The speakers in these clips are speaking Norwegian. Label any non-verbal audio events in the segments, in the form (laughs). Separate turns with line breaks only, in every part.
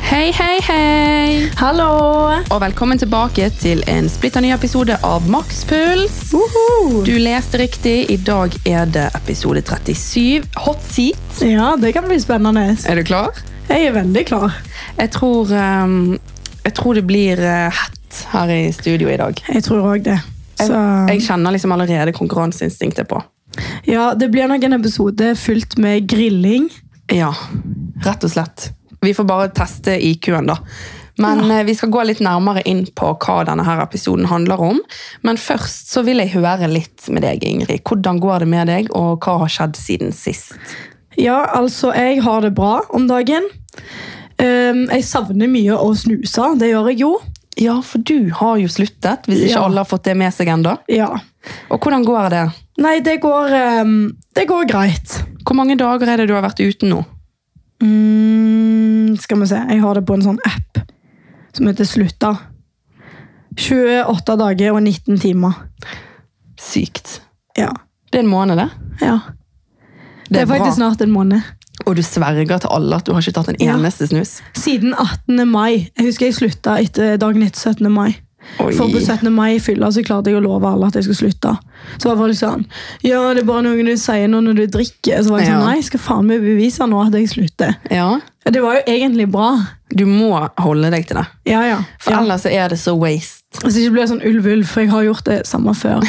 Hei, hei, hei!
Hallo!
Og velkommen tilbake til en splitter ny episode av Makspuls. Du leste riktig. I dag er det episode 37, Hot Seat.
Ja, det kan bli spennende.
Er du klar?
Jeg er veldig klar.
Jeg tror, ehm, jeg tror det blir eh, hett her i studio i dag.
Jeg tror òg det.
Jeg,
Så
jeg kjenner liksom allerede konkurranseinstinktet på.
ja, det blir nok en episode fylt med grilling.
Ja, rett og slett. Vi får bare teste IQ-en, da. Men eh, vi skal gå litt nærmere inn på hva denne her episoden handler om. Men først så vil jeg høre litt med deg, Ingrid. Hvordan går det med deg, og hva har skjedd siden sist?
Ja, altså, jeg har det bra om dagen. Ehm, jeg savner mye å snuse. Det gjør jeg jo.
Ja, for du har jo sluttet, hvis ikke
Ja.
alle har fått det med seg ennå.
Ja.
Og hvordan går det?
Nei, det går, ehm, det går greit.
Hvor mange dager er det du har vært uten nå?
Mm, skal vi se. Jeg har det på en sånn app som heter Slutta. 28 dager og 19 timer.
Sykt.
Ja.
Det er en måned, det.
ja. Det, er faktisk
bra.
snart en måned.
Og du sverger til alle at du har ikke tatt en
Ja.
eneste snus.
Siden 18. mai. Jeg husker jeg slutta etter dagen etter 17. mai.
Oi.
For på 17. mai i fylla så klarte jeg å love alle at jeg skulle slutte. Så var folk sånn Ja, det er bare noe du sier nå når du drikker. Så var jeg
Ja.
sånn, nei, jeg skal faen meg bevise nå at jeg slutter.
Ja,
Ja, Det var jo egentlig bra.
du må holde deg til det.
Ja, ja.
For
ja.
ellers så er det så waste.
Så ikke ble jeg sånn ulv-ulv, for jeg har gjort det
(laughs)
samme før.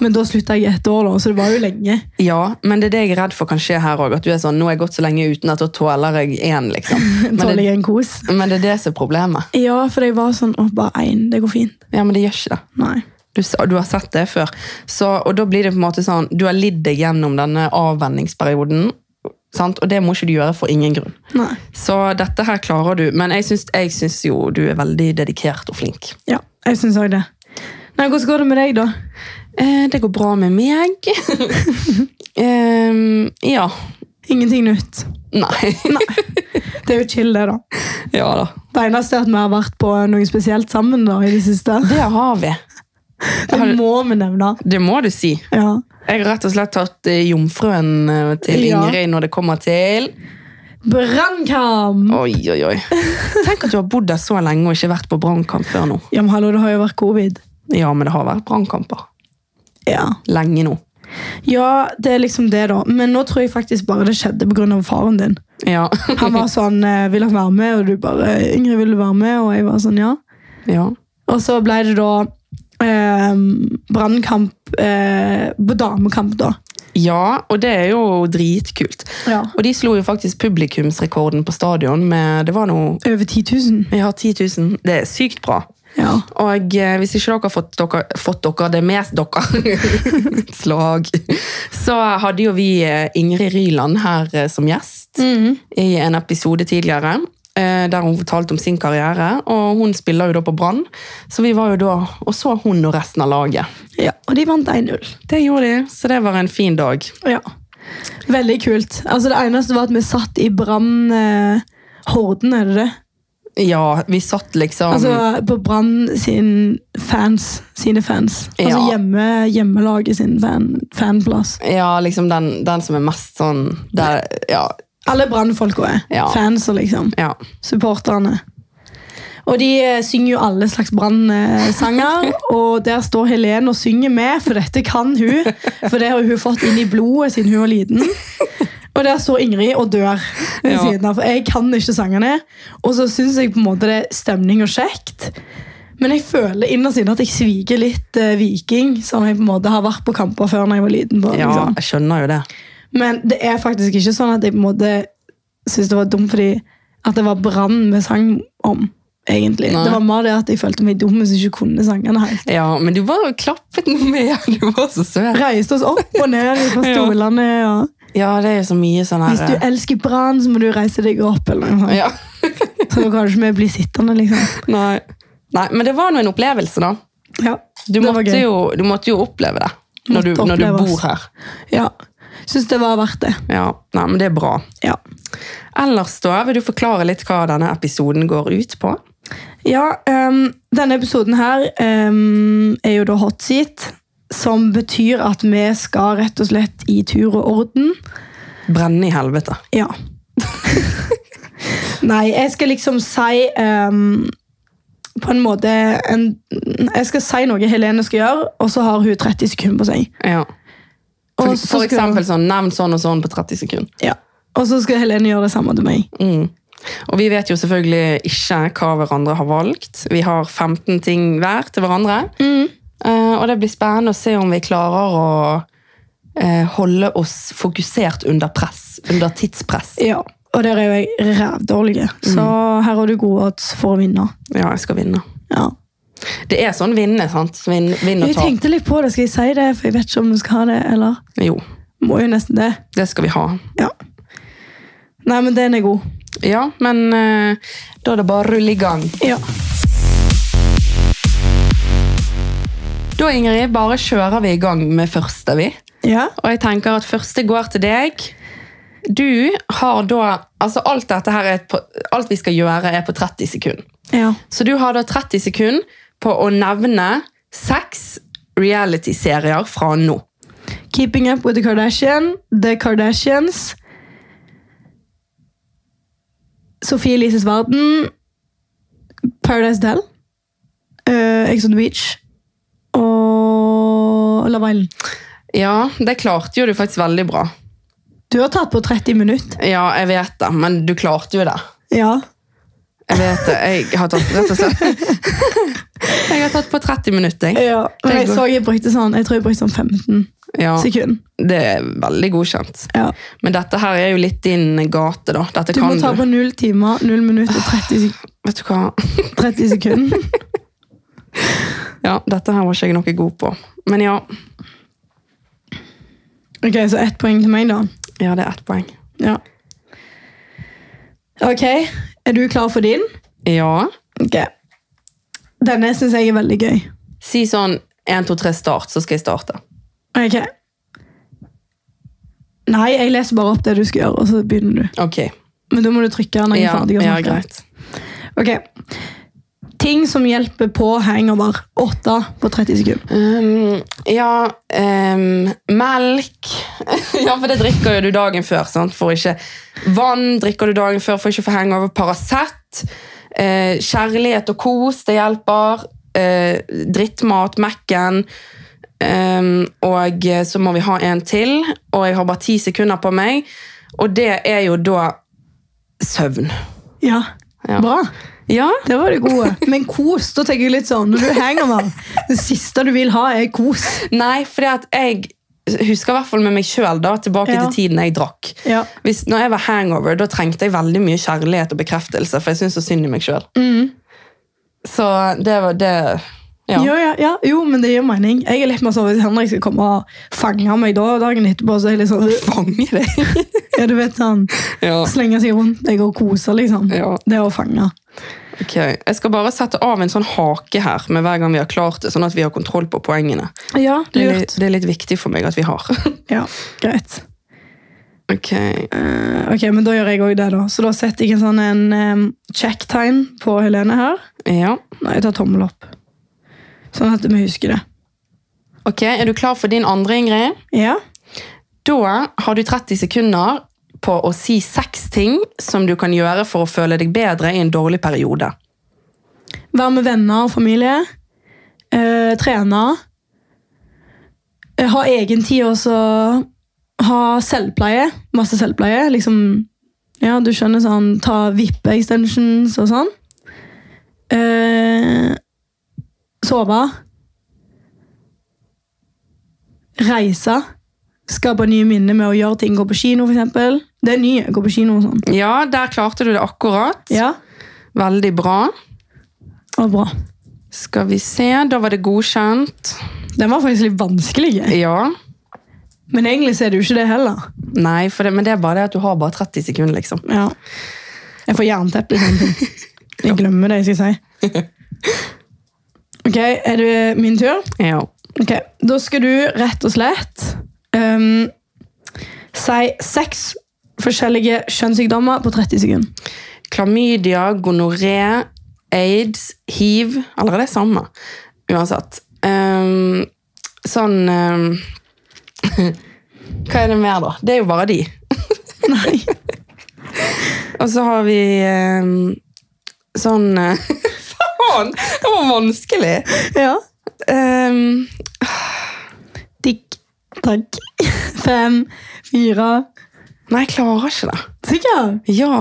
Men da slutta jeg i ett år, da, så det var jo lenge.
Ja, men det er det jeg er redd for kan skje her òg. At du er sånn 'nå har jeg gått så lenge uten at da tåler jeg én', liksom. Men
Tåler
det,
jeg en kos.
men det er det som er problemet.
Ja, for jeg var sånn Å, bare én. Det går fint.
Ja, men det gjør ikke det.
Nei.
Du, s- du har sett det før. Så, og da blir det på en måte sånn Du har lidd deg gjennom denne avvenningsperioden, sant? og det må ikke du gjøre for ingen grunn.
Nei.
Så dette her klarer du. Men jeg syns, jeg syns jo du er veldig dedikert og flink.
Ja, jeg syns òg det. Nei, Hvordan går det med deg, da?
Eh, det går bra med meg. eh, ja.
Ingenting nytt.
Nei.
Det er jo chill, det, da.
(laughs) ja da.
Det eneste er at vi har vært på noe spesielt sammen da, i det siste.
Det har vi.
Det må vi nevne.
Det må du si.
Ja.
Jeg har rett og slett tatt eh, jomfruen eh, til
Ja.
Ingrid når det kommer til
Brannkam!
Oi, oi, oi. (laughs) Tenk at du har bodd der så lenge og ikke vært på brannkamp før nå.
Ja, men hallo, det har jo vært covid.
Ja, men det har vært brannkamper.
Ja.
Lenge nå.
ja, det er liksom det, da. Men nå tror jeg faktisk bare det skjedde pga. faren din.
Ja.
Han var sånn eh, 'Vil han være med?' og du bare eh, 'Ingrid, vil du være med?' Og jeg var sånn 'Ja'.
(laughs) ja.
Og så ble det da eh, brannkamp eh, på damekamp, da.
Ja, og det er jo dritkult.
Ja.
Og de slo jo faktisk publikumsrekorden på stadion med Det var noe
Over 10 000.
Vi har 10 000. Det er sykt bra.
Ja.
Og eh, hvis ikke dere har fått dere, fått dere det med dere, (laughs) slag, så hadde jo vi eh, Ingrid Ryland her eh, som gjest i en episode tidligere, eh, der hun fortalte om sin karriere, og hun spiller jo da på Brann, så vi var jo da, og så hun og resten av laget.
ja. Og de vant 1-0.
Det gjorde de, så det var en fin dag.
Ja. Veldig kult. Altså Det eneste var at vi satt i brannhorden, eh, horden, er det det?
Ja, vi satt liksom...
Altså På Brann sin fans, sine fans. Altså
Ja.
hjemme, hjemmelaget sin fan, fanplass.
ja, liksom den, den som er mest sånn der, ja,
Alle Brann-folka er
Ja.
fans, og liksom.
ja.
Supporterne. Og de eh, synger jo alle slags
(laughs)
Brann-sanger. og der står Helene og synger med, for dette kan hun. For det har hun fått inn i blodet siden hun var liten. Og der står Ingrid og dør ved
Ja.
siden av. For jeg kan ikke sangene. Og så syns jeg på en måte det er stemning og kjekt. Men jeg føler innerst inne at jeg sviker litt eh, viking, som jeg på en måte har vært på kamper før når jeg var liten. På,
ja,
liksom.
jeg skjønner jo det.
Men det er faktisk ikke sånn at jeg på en måte syntes det var dumt fordi at det var brann vi sang om. egentlig.
Nei.
Det var mer det at jeg følte meg dum hvis jeg ikke kunne sangene helt.
Ja, men du var jo klappet noe med, (laughs) du var så søt.
Reiste oss opp og ned fra
(laughs) Ja.
stolene. Og
Ja, det er jo så mye sånn her
hvis du elsker brann, så må du reise deg opp. eller noe sånt.
ja. (laughs)
Så da kan ikke vi bli sittende, liksom.
Nei. Nei, men det var nå en opplevelse, da.
Ja,
Du,
det var
måtte
gøy.
jo, du måtte jo oppleve det når du,
Måtte
når du
oppleve,
bor
ass.
her.
Ja. Syns det var verdt det.
Ja, Nei, men det er bra.
Ja.
Ellers, da, vil du forklare litt hva denne episoden går ut på?
Ja, ehm, denne episoden her ehm, er jo da hot seat, som betyr at vi skal rett og slett i tur og orden.
Brenne i helvete.
Ja. Nei, jeg skal liksom si ehm, På en måte en, Jeg skal si noe Helene skal gjøre, og så har hun 30 sekunder på seg.
Ja. For,
Og så
for
skal hun-
eksempel sånn, nevn sånn og sånn på 30 sekunder.
Ja. Og så skal Helene gjøre det samme til meg.
Mm. Og vi vet jo selvfølgelig ikke hva hverandre har valgt. Vi har 15 ting hver til hverandre. Eh, og det blir spennende å se om vi klarer å eh, holde oss fokusert under press. Under tidspress.
Ja. Og der er jo jeg rævdårlig, så
Mm.
her har du gode odds for å vinne.
Ja, jeg skal vinne.
Ja.
Det er sånn vinne, sant? Vinn, vinn og
Jeg
ta.
tenkte litt på det, skal jeg si det? For jeg vet ikke om du skal ha det, eller?
Jo,
Må jo nesten det.
det skal vi ha.
Ja. Nei, men den er god.
Ja, men eh, da er det bare å rulle i gang.
Ja.
Da, Ingrid, bare kjører vi i gang med første, vi.
Ja.
Og jeg tenker at første går til deg. Du har da Altså, alt dette her er på, Alt vi skal gjøre, er på 30 sekunder.
Ja.
Så du har da 30 sekunder på å nevne seks reality-serier fra nå.
Keeping up with the Kardashian, The Kardashians, Sofie Elises verden, Paradise Del, uh, Ex on the Beach og Love Island.
Ja, det klarte jo du faktisk veldig bra.
Du har tatt på 30 minutter.
Ja, jeg vet det, men du klarte jo det.
Ja.
Jeg vet det. Jeg har tatt rett og slett (laughs) Jeg har tatt på 30 minutter, jeg.
Men
Det
jeg
går.
så jeg brukte sånn, jeg tror jeg brukte sånn 15
Ja,
sekunder.
det er veldig godkjent.
Ja.
Men dette her er jo litt din gate, da. Dette
Du må
kan
ta
du.
på 0 timer, 0 minutter og 30, (sighs) sek
Vet du hva?
30 sekunder.
Ja, dette her var ikke jeg noe god på. Men ja,
Ok, så ett poeng til meg da.
ja det er ett poeng.
Ja. Ok, er du klar for din?
Ja.
Ok. Denne syns jeg er veldig gøy.
Si sånn 1, 2, 3, start, så skal jeg starte.
Ok. Nei, jeg leser bare opp det du skal gjøre, og så begynner du.
Ok.
Men da må du trykke når jeg er
Ja,
ferdig å
ja,
snakke.
greit.
Ok. Ting som hjelper på hangover. Åtte på 30 sekunder.
Um, ja um, Melk. (laughs) ja, for det drikker jo du dagen før. sant? For ikke Vann drikker du dagen før for ikke å få hangover. Paracet. eh, kjærlighet og kos, det hjelper. eh, drittmat, Mac-en. Um, og så må vi ha en til, og jeg har bare ti sekunder på meg. Og det er jo da søvn.
Ja.
Ja.
Bra.
Ja,
Det var det
(laughs)
gode. Men kos, da tenker jeg litt sånn når du er hangover. Det siste du vil ha, er kos.
Nei, fordi at jeg husker i hvert fall med meg sjøl tilbake
Ja.
til tiden jeg drakk.
Ja.
Hvis, når jeg var hangover, da trengte jeg veldig mye kjærlighet og bekreftelse, for jeg syntes så synd i meg sjøl. Så det var det ja.
Jo, ja, ja. jo, men det gir mening. Jeg er litt mer sånn Hvis Henrik skal komme og fange meg da dagen etterpå, så er jeg litt sånn
(laughs) Fange deg!
(laughs) Ja, du vet sånn
ja.
Slenge seg rundt deg og kose, liksom.
Ja.
Det å fange.
Ok, Jeg skal bare sette av en sånn hake her med hver gang vi har klart det, sånn at vi har kontroll på poengene.
Ja,
Det er, litt, det er litt viktig for meg at vi har.
Ja, greit.
ok,
Eh, ok, men da gjør jeg òg det, da. Så da setter jeg en sånn en em, check-tegn på Helene her.
ja.
Nei, jeg tar tommel opp. Sånn at vi husker det.
Ok, Er du klar for din andre, Ingrid?
Ja.
Da har du 30 sekunder på å si seks ting som du kan gjøre for å føle deg bedre i en dårlig periode.
Være med venner og familie. Eh, trene. Eh, ha egen tid og så ha selvpleie. Masse selvpleie. Liksom Ja, du skjønner sånn Ta vippe-extensions og sånn. Eh, sove. Reise. Skape nye minner med å gjøre ting. Gå på kino, f.eks. Det er nye. Gå på kino og sånn.
Ja, der klarte du det akkurat.
Ja,
Veldig bra.
og bra.
Skal vi se, da var det godkjent.
Den var faktisk litt vanskelig.
Ja.
Men egentlig så er det jo ikke det heller.
Nei, for det, men det er bare det at du har bare 30 sekunder, liksom.
Ja. Jeg får jernteppe i sånne ting. Jeg glemmer det jeg skal si. Ok, er det min tur?
Ja.
Ok, Da skal du rett og slett ehm, si seks forskjellige kjønnssykdommer på 30 sekunder.
Klamydia, gonoré, aids, hiv. Eller det er samme, uansett. Ehm, sånn ehm, (laughs) Hva er det mer, da? Det er jo bare de.
Nei.
Og så har vi eh, sånn (laughs) eh, Faen! Det var vanskelig!
(laughs)
Ehm,
Ja.
Em,
Digg. Takk. Fem, fire
nei, jeg klarer ikke det.
Sikker?
Ja.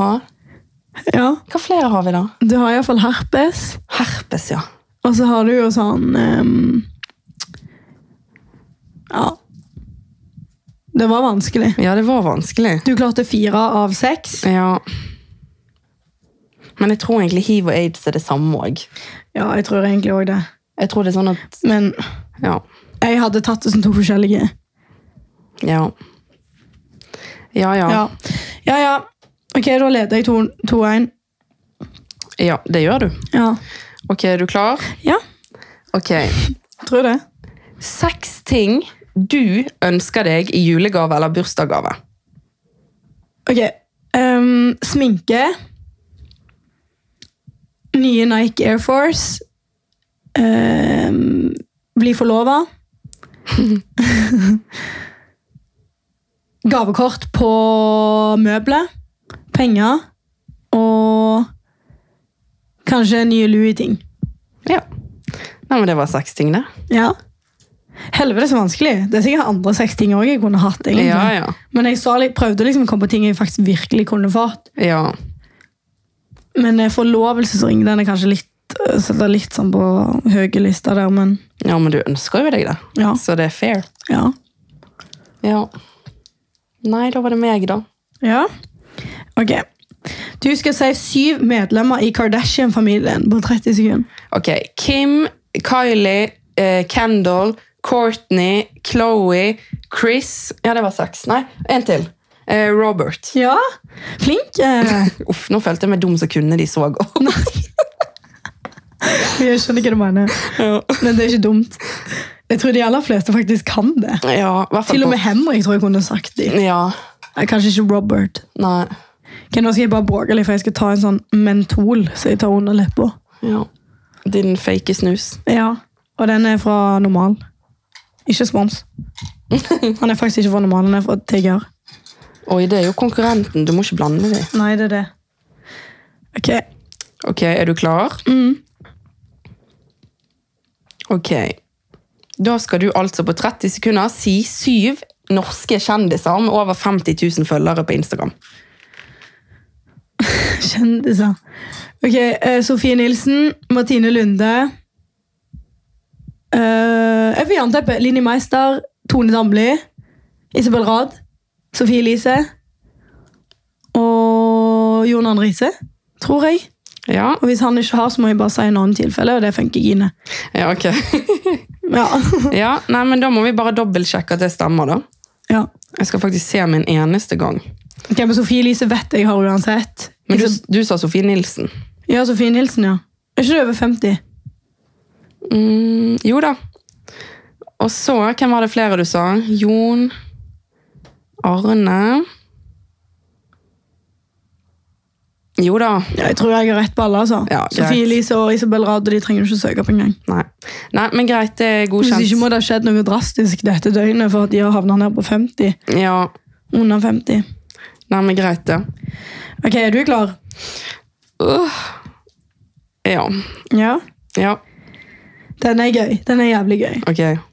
Ja.
Hva flere har vi, da?
Du har iallfall herpes.
Herpes, ja.
Og så har du jo sånn ehm, Ja. Det var vanskelig.
Ja, det var vanskelig.
Du klarte fire av seks.
Ja. Men jeg tror egentlig hiv og aids er det samme òg.
Ja, jeg tror egentlig òg det.
Jeg tror det er sånn at
Men
Ja.
jeg hadde tatt det som to forskjellige.
Ja ja. ja.
Ja, ja. ja. Ok, da leder jeg 2-1.
Ja, det gjør du.
Ja.
Ok, er du klar?
ja,
Ok.
tror det.
Seks ting du ønsker deg i julegave eller bursdagsgave.
Ok. ehm, sminke. Nye Nike Air Force. ehm, bli
(laughs)
forlova. Gavekort på møbler. Penger. Og kanskje nye Louis-ting.
Ja. Nei, men det var seks ting, det.
Ja. Helvete, så vanskelig. Det er sikkert andre seks ting også jeg kunne hatt. egentlig.
Ja, ja.
Men jeg så, prøvde liksom å komme på ting jeg faktisk virkelig kunne fått.
Ja.
Men eh, forlovelsesring den er kanskje litt, eh, så det er litt sånn på høye lista der, men
ja, men du ønsker jo deg det,
ja.
så det er fair.
Ja.
Ja. Nei, da var det meg, da.
ja. Ok. Du skal si syv medlemmer i Kardashian-familien på 30 sekunder.
Ok, Kim, Kylie, eh, Kendall, Courtney, Chloé, Chris Ja, det var seks. Nei, en til. Eh, Robert.
Ja, flink. eh.
(laughs) Uff, nå følte jeg meg dum som kunne de så godt.
Jeg skjønner ikke hva du mener,
Ja.
men det er ikke dumt. Jeg tror de aller fleste faktisk kan det.
Ja, i hvert fall
Til og med
på-
Henrik tror jeg kunne sagt det.
Ja.
Eh, Kanskje ikke Robert.
Nei.
Ok, nå skal jeg bare bråke litt, for jeg skal ta en sånn mentol som jeg tar under leppa.
Ja. Din fake snus.
Ja, og den er fra normal. Ikke spons. Han er faktisk ikke fra normal, han er fra Tigger.
Oi, det er jo konkurrenten. Du må ikke blande dem.
Nei, det er det. Ok,
Ok, er du klar? Ok. Da skal du altså på 30 sekunder si syv norske kjendiser med over 50 000 følgere på Instagram.
kjendiser. Ok, eh, Sofie Nilsen, Martine Lunde, eh, jeg får jernteppe, Linni Meister, Tone Damli, Isabel Rad, Sofie Elise, og Jon Arne Riise, tror jeg.
Ja,
Og hvis han ikke har, så må jeg bare si en annen tilfelle, og det funker Gine.
ja (laughs) ok.
Ja.
Ja, nei, men da må vi bare dobbeltsjekke at det stemmer, da.
(laughs) ja.
Jeg skal faktisk se med en eneste gang.
Ok, men Sofie Elise vet jeg har uansett.
Men du,
Isab-
du sa Sofie Nilsen.
Ja, Sofie Nilsen, ja. Er ikke du over 50?
Mm, jo da. Og så, hvem var det flere du sa? Jon Arne Jo da.
Ja, jeg tror jeg har rett på alle, altså.
Ja, greit.
Sofie Elise og Isabel Rad, og de trenger du ikke søke opp engang.
Nei. Nei, men greit, det er
Hvis ikke
godkjent.
må det ha skjedd noe drastisk dette døgnet for at de har havnet ned på 50.
Ja,
Under 50.
nei, men greit, det.
Ok, er du klar?
Uh. Ja.
Ja.
Ja,
Den er gøy. Den er jævlig gøy.
ok.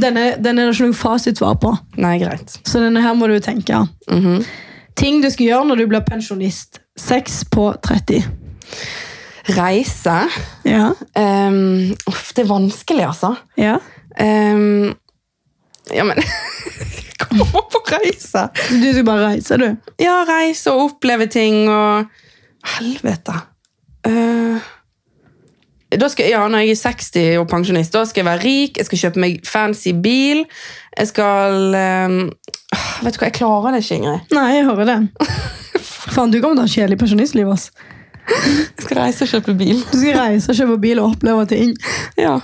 Den er, den er det ikke noe fasitsvar på.
Nei, greit.
Så denne her må du tenke.
Mhm.
Ting du skal gjøre når du blir pensjonist. 6 på 30.
Reise.
Ja.
Um, uff, det er vanskelig, altså.
Ja.
Ehm, ja, men (laughs) Kom opp på reise!
Du skal bare reise, du.
Ja, reise og oppleve ting og Helvete! Eh, da skal, ja, når jeg er 60 og pensjonist, da skal jeg være rik, jeg skal kjøpe meg fancy bil Jeg skal ehm, ah, Vet du hva, jeg klarer det ikke, Ingrid.
Nei, jeg hører det. (laughs) Faen, du kommer til å ha et kjedelig pensjonistliv. ass.
Jeg skal reise og kjøpe bil.
Du skal reise, kjøpe bil og oppleve ting.
Ja.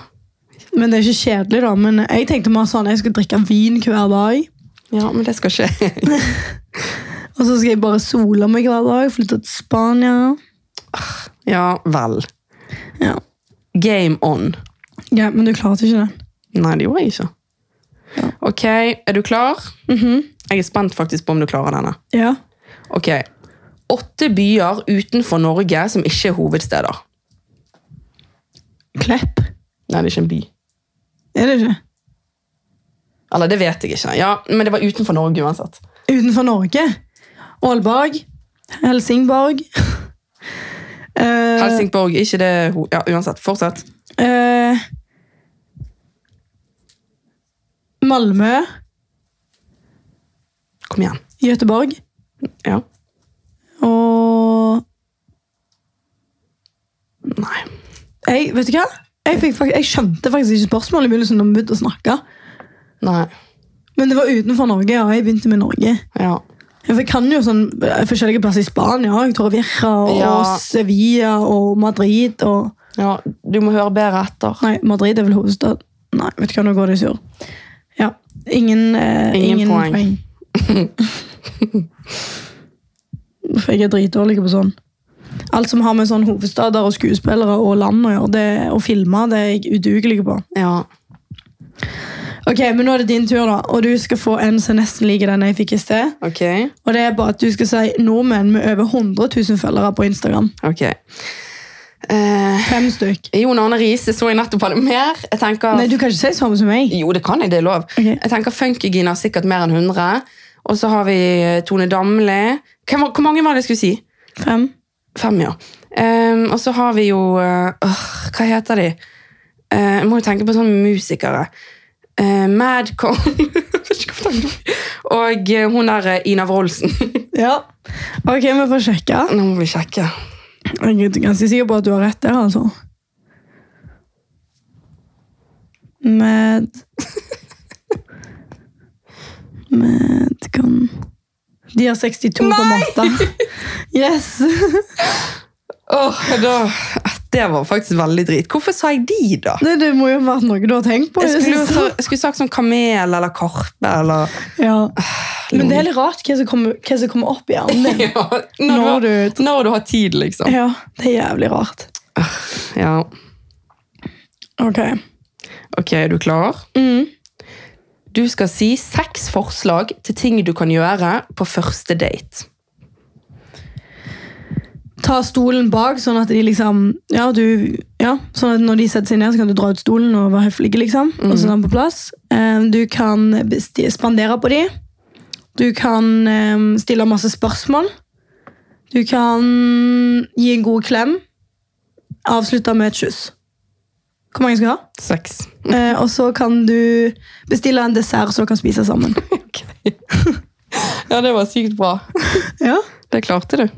Men det er ikke kjedelig, da. Men jeg tenkte mer sånn, jeg skal drikke vin hver dag.
ja, men det skal skje.
Og så skal jeg bare sole meg hver dag, flytte til Spania.
(laughs) Ja vel.
Ja,
Game on.
ja Men du klarte ikke den.
Nei, det gjorde jeg ikke. Ok, Mhm. er du klar? Jeg er spent faktisk på om du klarer denne.
Ja.
Ok. åtte byer utenfor Norge som ikke er hovedsteder.
Klepp?
Nei, det er ikke en by.
Er det ikke?
Eller det vet jeg ikke. Ja, Men det var utenfor Norge uansett.
Utenfor Norge? Aalborg? Helsingborg? (laughs) Eh,
Helsingborg, ikke det ho- Ja, uansett. Fortsett.
eh, Malmø?
Kom igjen.
Gøteborg?
Ja.
Og
Nei.
jeg, Vet du hva? Jeg, fikk, fak- jeg skjønte faktisk ikke spørsmålet i begynnelsen. når vi begynte å snakke.
Nei.
Men det var utenfor Norge, ja. Jeg begynte med Norge.
Ja.
For jeg kan jo sånn eh, forskjellige plasser i Spania. Jeg Torrevieja og
Ja.
Sevilla og Madrid og
ja. Du må høre bedre etter.
Nei, Madrid er vel hovedstad. Nei, vet du hva, nå går det i surr. Ja. Ingen, eh,
Ingen
ingen,
poeng.
poeng.
(laughs)
For jeg er dritdårlig på sånn. Alt som har med sånn hovedstader og skuespillere og land å gjøre, det, og filmer, det er jeg udugelig på.
Ja.
Ok, men Nå er det din tur, da, og du skal få en som nesten liker den jeg fikk i sted.
Ok.
Og det er bare at du skal si nordmenn med over 100 000 følgere på Instagram.
Ok. Eh,
Fem stykk.
Jon Arne Riise så jeg nettopp hadde mer. Jeg tenker...
Nei, du kan ikke si samme som meg.
Jo, det kan jeg, det er lov.
Ok.
Jeg tenker Funkygine har sikkert mer enn 100. Og så har vi Tone Damli. Hvem, var- hvor mange var det jeg skulle si?
Fem.
Fem, ja. Ehm, og så har vi jo eh, åh, Hva heter de? Eh, jeg må jo tenke på sånne musikere. Eh, Madcon (laughs) Jeg vet ikke hva det er. Og eh, hun der eh, Ina Wroldsen. (laughs)
Ja. Ok, vi får sjekke.
Nå må vi sjekke.
Jeg er ganske sikker på at du har rett der, altså. Med (laughs) Med kan De har 62,8. Yes! (laughs)
Åh, da, det var faktisk veldig drit. Hvorfor sa jeg de, da?
Det, det må jo ha vært noe du har tenkt på. i
Jeg
det
skulle, jo
siste.
sa- jeg skulle sagt sånn kamel eller karpe eller
Ja. Men det er litt rart hva som kommer, hva som kommer opp i hjernen (laughs) din.
(laughs) ja, når,
Når
du,
du
har- når du har tid, liksom.
Ja, det er jævlig rart.
Ja.
Ok.
Ok, er du klar?
Mm.
Du skal si seks forslag til ting du kan gjøre på første date.
Ta stolen bak, sånn at de liksom ja, du, ja, sånn at når de setter seg ned, så kan du dra ut stolen og være høflig, liksom. Og så er den på plass. Em, Du kan besti- spandere på de. Du kan em, stille masse spørsmål. Du kan gi en god klem. Avslutte med et kyss. Hvor mange skal du ha?
(laughs) Seks.
Eh, Og så kan du bestille en dessert så dere kan spise sammen.
Ja, det var sykt bra.
Ja,
Det klarte du.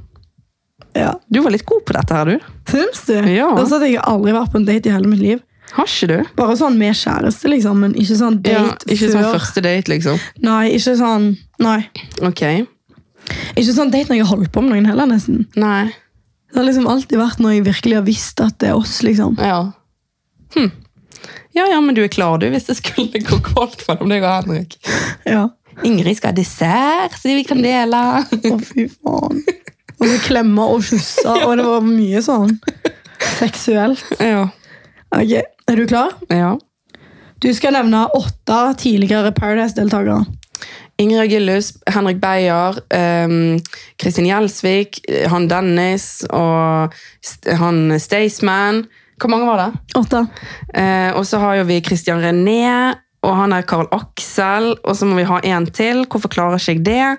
ja.
Du var litt god på dette her, du.
Syns du?
Ja.
Altså at jeg har aldri vært på en date i hele mitt liv.
Har ikke du?
Bare sånn med kjæreste, liksom, men ikke sånn date
Ja, ikke
før.
sånn første date, liksom.
Nei, ikke sånn Nei.
Ok.
Ikke sånn date når jeg har holdt på med noen heller, nesten.
Nei.
Det har liksom alltid vært når jeg virkelig har visst at det er oss, liksom.
Ja. Hm. Ja, ja, men du er klar, du, hvis det skulle gå galt mellom deg og Henrik.
Ja.
Ingrid skal ha dessert, så vi kan dele.
Å, fy faen. Og så klemme og kysse, og det var mye sånn seksuelt.
Ja.
Ok, Er du klar?
ja.
Du skal nevne åtte tidligere Paradise-deltakere.
Ingrid Gillus, Henrik Beyer, ehm, Kristin Gjelsvik, eh, han Dennis og st han Staysman. Hvor mange var det?
Åtte.
Eh, og så har jo vi Christian René, og han er Karl Aksel, og så må vi ha en til. Hvorfor klarer ikke jeg det?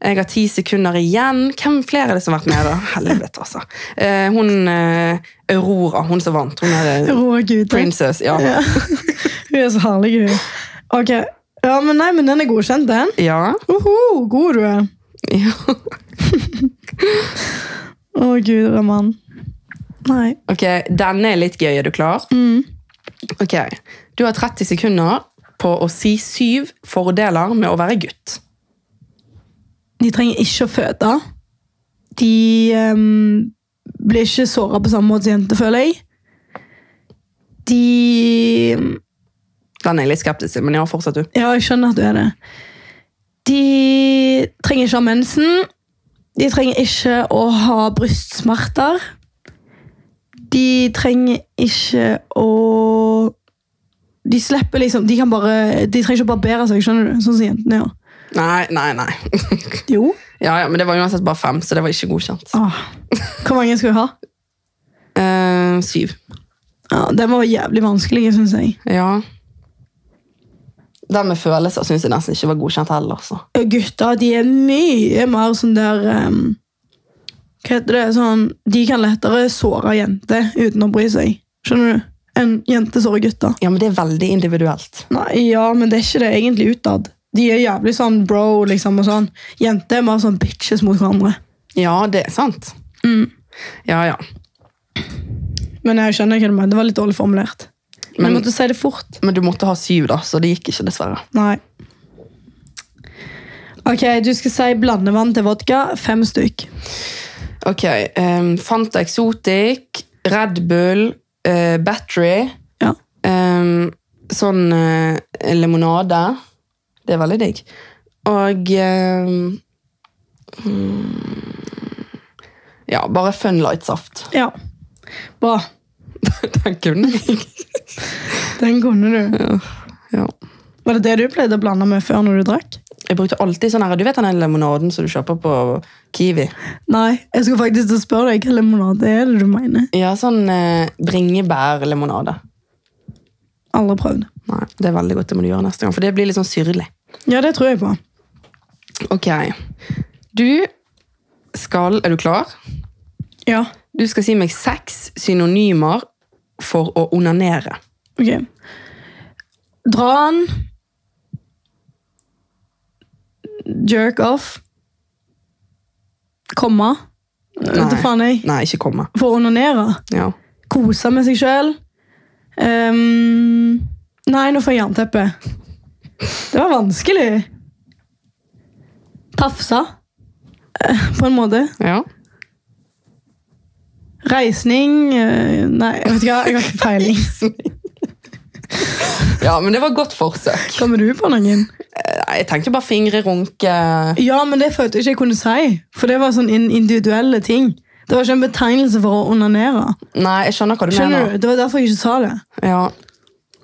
Jeg har ti sekunder igjen. Hvem flere er det som har vært med, da? (laughs) Helvete, altså. Eh, hun eh, Aurora, hun som vant. Hun er eh,
Rå gutter.
princess, ja.
Ja. Hun er så herlig, hun. Ok. Ja, men nei, men den er godkjent, den.
Ja.
Uhu, god du er.
ja.
Å, gud, Raman. Nei.
Ok, denne er litt gøy. Er du klar?
Mm.
Ok. Du har 30 sekunder på å si syv fordeler med å være gutt.
De trenger ikke å føde. De ehm, blir ikke såra på samme måte som jenter, føler jeg. De ehm,
Den er jeg litt skeptisk til, men ja, fortsett du.
Ja, jeg skjønner at du er det. De trenger ikke å ha mensen. De trenger ikke å ha brystsmerter. De trenger ikke å De slipper liksom De, kan bare, de trenger ikke å barbere seg, skjønner du? Sånn som jentene gjør.
Nei, nei, nei.
Jo.
(laughs) Ja, ja, men det var uansett bare fem, så det var ikke godkjent.
Åh. Ah. Hvor mange skal du ha?
Eh, syv.
Ja, den var jævlig vanskelig, syns jeg.
Ja. Den med følelser syns jeg nesten ikke var godkjent heller. altså. Så.
Ja, Gutter de er mye mer sånn der ehm, Hva heter det? Sånn, de kan lettere såre jenter uten å bry seg. Skjønner du? En jente sårer gutter.
Ja, men det er veldig individuelt.
Nei, ja, men det er ikke det egentlig utad. De er jævlig sånn bro, liksom, og sånn. Jenter er mer sånn bitches mot hverandre.
Ja, det er sant. Mm. Ja, ja.
Men jeg skjønner hva du mener. Det var litt dårlig formulert. Men,
Men-
jeg måtte si det fort.
Men du måtte ha syv, da, så det gikk ikke, dessverre.
Nei. Ok, du skal si blandevann til vodka. Fem stykk.
Ok. Um, Fanta Exotic, Red Bull, eh, Battery
Ja.
em, Sånn eh, limonade. Det er veldig digg. Og em, mm, Ja, bare Funlight-saft. (laughs)
ja. Bra.
Den kunne jeg.
Den kunne du.
Ja.
Var det det du pleide å blande med før når du drakk?
Jeg brukte alltid sånn her, du vet den der limonaden som du kjøper på Kiwi?
Nei, jeg skulle faktisk til å spørre deg hva limonade er det du mener.
Ja, sånn eh, bringebærlimonade.
Aldri prøvd.
Nei, det er veldig godt det må du gjøre neste gang, for det blir litt sånn syrlig.
Ja, det tror jeg på.
Ok, du skal, er du klar?
Ja,
Du skal si meg seks synonymer for å onanere.
ok. Dra den. Jerk off. Komme. Vet du faen jeg.
Nei, ikke komme.
For å onanere.
Ja.
Kose med seg sjøl. Ehm, nei, nå får jeg jernteppe. Det var vanskelig. Tafsa, eh, på en måte.
Ja.
Reisning eh, Nei, jeg vet ikke hva. Jeg har (laughs) ikke peiling.
ja, men det var et godt forsøk.
Kommer du på noen?
Eh, Nei, Jeg tenkte bare fingre, runke.
Ja, men det følte jeg ikke jeg kunne si. For det var sånn in- individuelle ting. Det var ikke en betegnelse for å onanere.
Nei, jeg skjønner hva du
Skjønner
mener.
du? Det var derfor jeg ikke sa det.
Ja.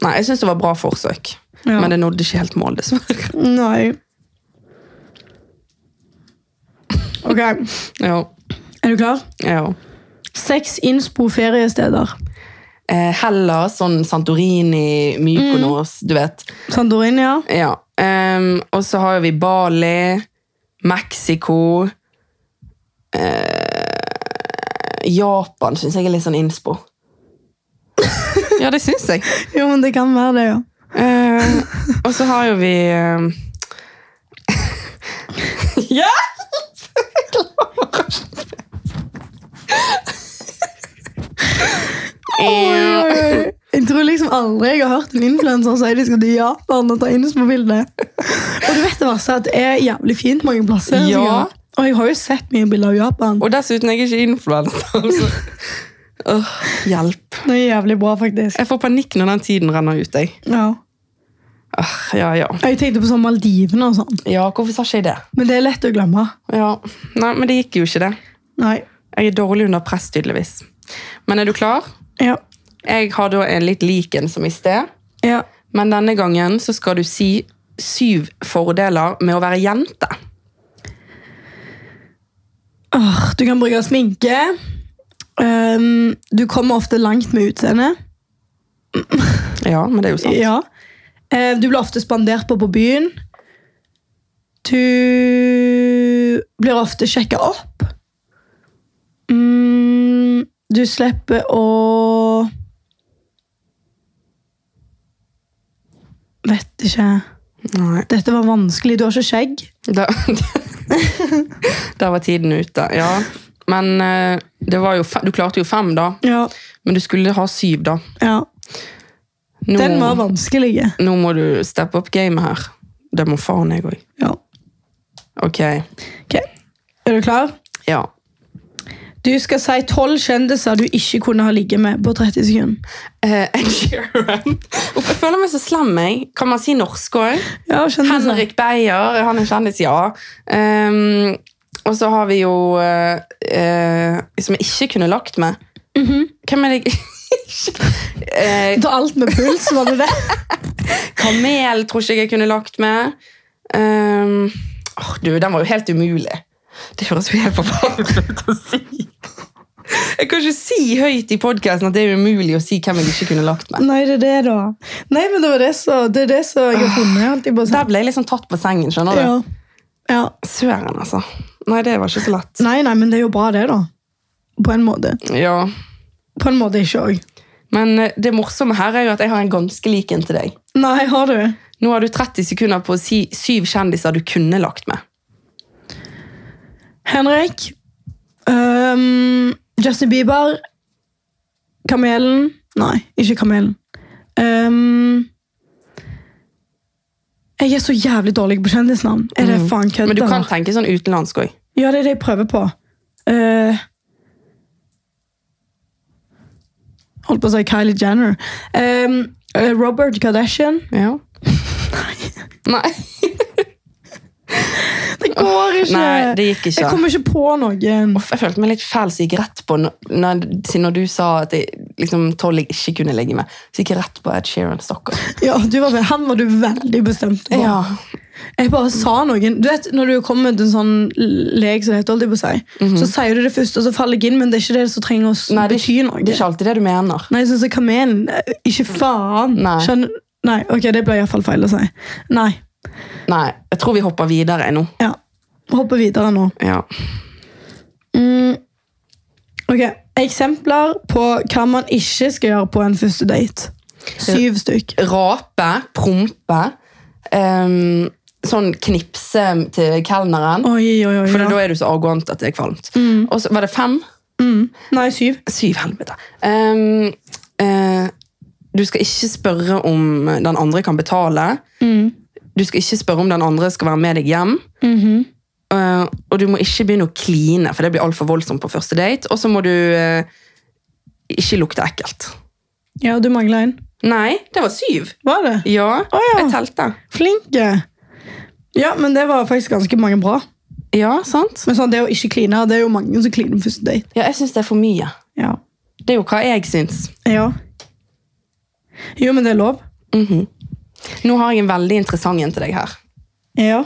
Nei, jeg synes det var bra forsøk.
Ja.
Men det nådde ikke helt mål, dessverre.
Nei. Ok,
Ja.
er du klar?
ja.
Seks innspo-feriesteder.
Eh, Hellas, sånn Santorini, Mykonos, du vet.
Sandorin,
Ja. ehm, og så har vi Bali, Mexico eh, Japan syns jeg er litt sånn innspo. (laughs) ja, det syns jeg.
Jo, men det kan være det, ja.
Eh, og så har jo vi ehm, (laughs) Ja!
Oi, oi, oi. Jeg tror liksom aldri jeg har hørt en influenser si de skal til Japan og ta innspo-bilde. Og du vet det verste at det er jævlig fint mange plasser.
Ja.
sikkert. Og jeg har jo sett mye bilder av Japan.
Og dessuten er jeg ikke influenser. så- Åh, hjelp.
Det er jævlig bra, faktisk.
Jeg får panikk når den tiden renner ut. Jeg.
Ja.
Åh, ja, ja.
Jeg tenkte på sånn Maldivene og sånn,
ja, hvorfor sa ikke jeg det?
men det er lett å glemme.
Ja. Nei, men det gikk jo ikke, det.
Nei.
Jeg er dårlig under press, tydeligvis. Men er du klar?
Ja.
Jeg har da en litt lik en som i sted.
Ja.
Men denne gangen så skal du si syv fordeler med å være jente.
Åh, du kan bruke sminke. Um, du kommer ofte langt med utseendet.
Ja, men det er jo sant.
Ja. Eh, Du blir ofte spandert på på byen. Du blir ofte sjekka opp. Mm, du slipper å Vet ikke.
Nei.
Dette var vanskelig. Du har ikke skjegg.
Da, (laughs) Der var tiden ute. Ja. Men eh, det var jo fe- du klarte jo fem, da.
Ja.
Men du skulle ha syv, da.
ja.
Nå,
Den var vanskelig.
nå må du steppe opp gamet her. Det må faen jeg òg.
Ja.
Ok.
Ok. Er du klar?
Ja.
Du skal si tolv kjendiser du ikke kunne ha ligget med på 30 sekunder.
Eh, (laughs) Ed Sheeran. Uff, jeg føler meg så slem, jeg. Kan man si norsk òg? (laughs)
Ja, kjendiser.
Henrik Beyer, han er kjendis, ja. Ehm, og så har vi jo eh, eh, Som jeg ikke kunne lagt med.
Mhm.
Hvem er det jeg (laughs) Eh,
Ta alt med puls, var det det?
Kamel tror ikke jeg jeg kunne lagt med. Ehm, åh, du, den var jo helt umulig. Det høres jo helt forferdelig ut å si. Jeg kan ikke si høyt i podkasten at det er umulig å si hvem jeg ikke kunne lagt med.
(laughs) Nei, det er det, da. Nei, men det, var det, så, det er det som jeg har funnet. Alltid bare
Der
sånn.
ble jeg liksom tatt på sengen, skjønner du?
Ja. ja.
Søren, altså. Nei, det var ikke så lett.
Nei, nei, men det er jo bra, det, da. På en måte.
Ja.
På en måte ikke òg.
Men eh, det morsomme her er jo at jeg har en ganske lik en til deg.
Nei, har du?
Nå har du 30 sekunder på å si syv kjendiser du kunne lagt med.
Henrik. Øhm, Justin Bieber. Kamelen. Nei, ikke Kamelen. Øhm, jeg er så jævlig dårlig på kjendisnavn. Er det faen kødd?
Men du kan
eller?
tenke sånn utenlandsk òg.
Ja, det er det jeg prøver på. Eh, holdt på å si Kylie Jenner. Ehm, eh, Robert Kardashian.
(laughs) Ja. Nei.
Det går ikke!
Nei, det gikk ikke.
Jeg kommer ikke på noen.
Uff, Jeg følte meg litt fæl som gikk rett på når, når, siden når du sa at jeg liksom tolv jeg ikke kunne legge med. Så gikk jeg rett på Ed Sheeran, stakkar.
Ja, du var, han var du veldig bestemt på.
Ja.
Jeg bare sa noen Du vet, Når du kommer til en sånn lek, som det heter, holdt jeg på å si, så sier du det først, og så faller jeg inn, men det er ikke det som trenger å s-
Mhm. Nei, det, er
bety
ikke-
noe.
det er ikke alltid det du mener.
Nei, sånn som kamelen. eh, Ikke faen.
Nei.
Skjønner Nei, ok, det ble iallfall feil å si. Nei.
Nei, jeg tror vi hopper videre nå.
Ja. Hoppe videre nå.
Ja.
Mm. Ok, Eksempler på hva man ikke skal gjøre på en første date. Syv stykk.
Rape, prompe, ehm, sånn knipse til kelneren.
Oi, oi, oi.
For
ja.
da er du så arrogant at det er kvalmt. Og så var det fem.
mm. Nei, syv.
Syv helvete. Ehm, eh, du skal ikke spørre om den andre kan betale.
Mm.
Du skal ikke spørre om den andre skal være med deg hjem.
Mm-hmm.
Eh, og du må ikke begynne å kline, for det blir altfor voldsomt på første date. Og så må du eh, ikke lukte ekkelt.
Ja, du mangla en.
Nei, det var syv.
Var det?
Ja,
ja.
jeg telte.
Flinke! Ja, men det var faktisk ganske mange bra.
Ja, sant?
Men sånn, det å ikke kline, det er jo mange som kliner på første date.
Ja, jeg syns det er for mye.
Ja.
Det er jo hva jeg syns.
ja. Jo, men det er lov.
Nå har jeg en veldig interessant en til deg her.
Ja.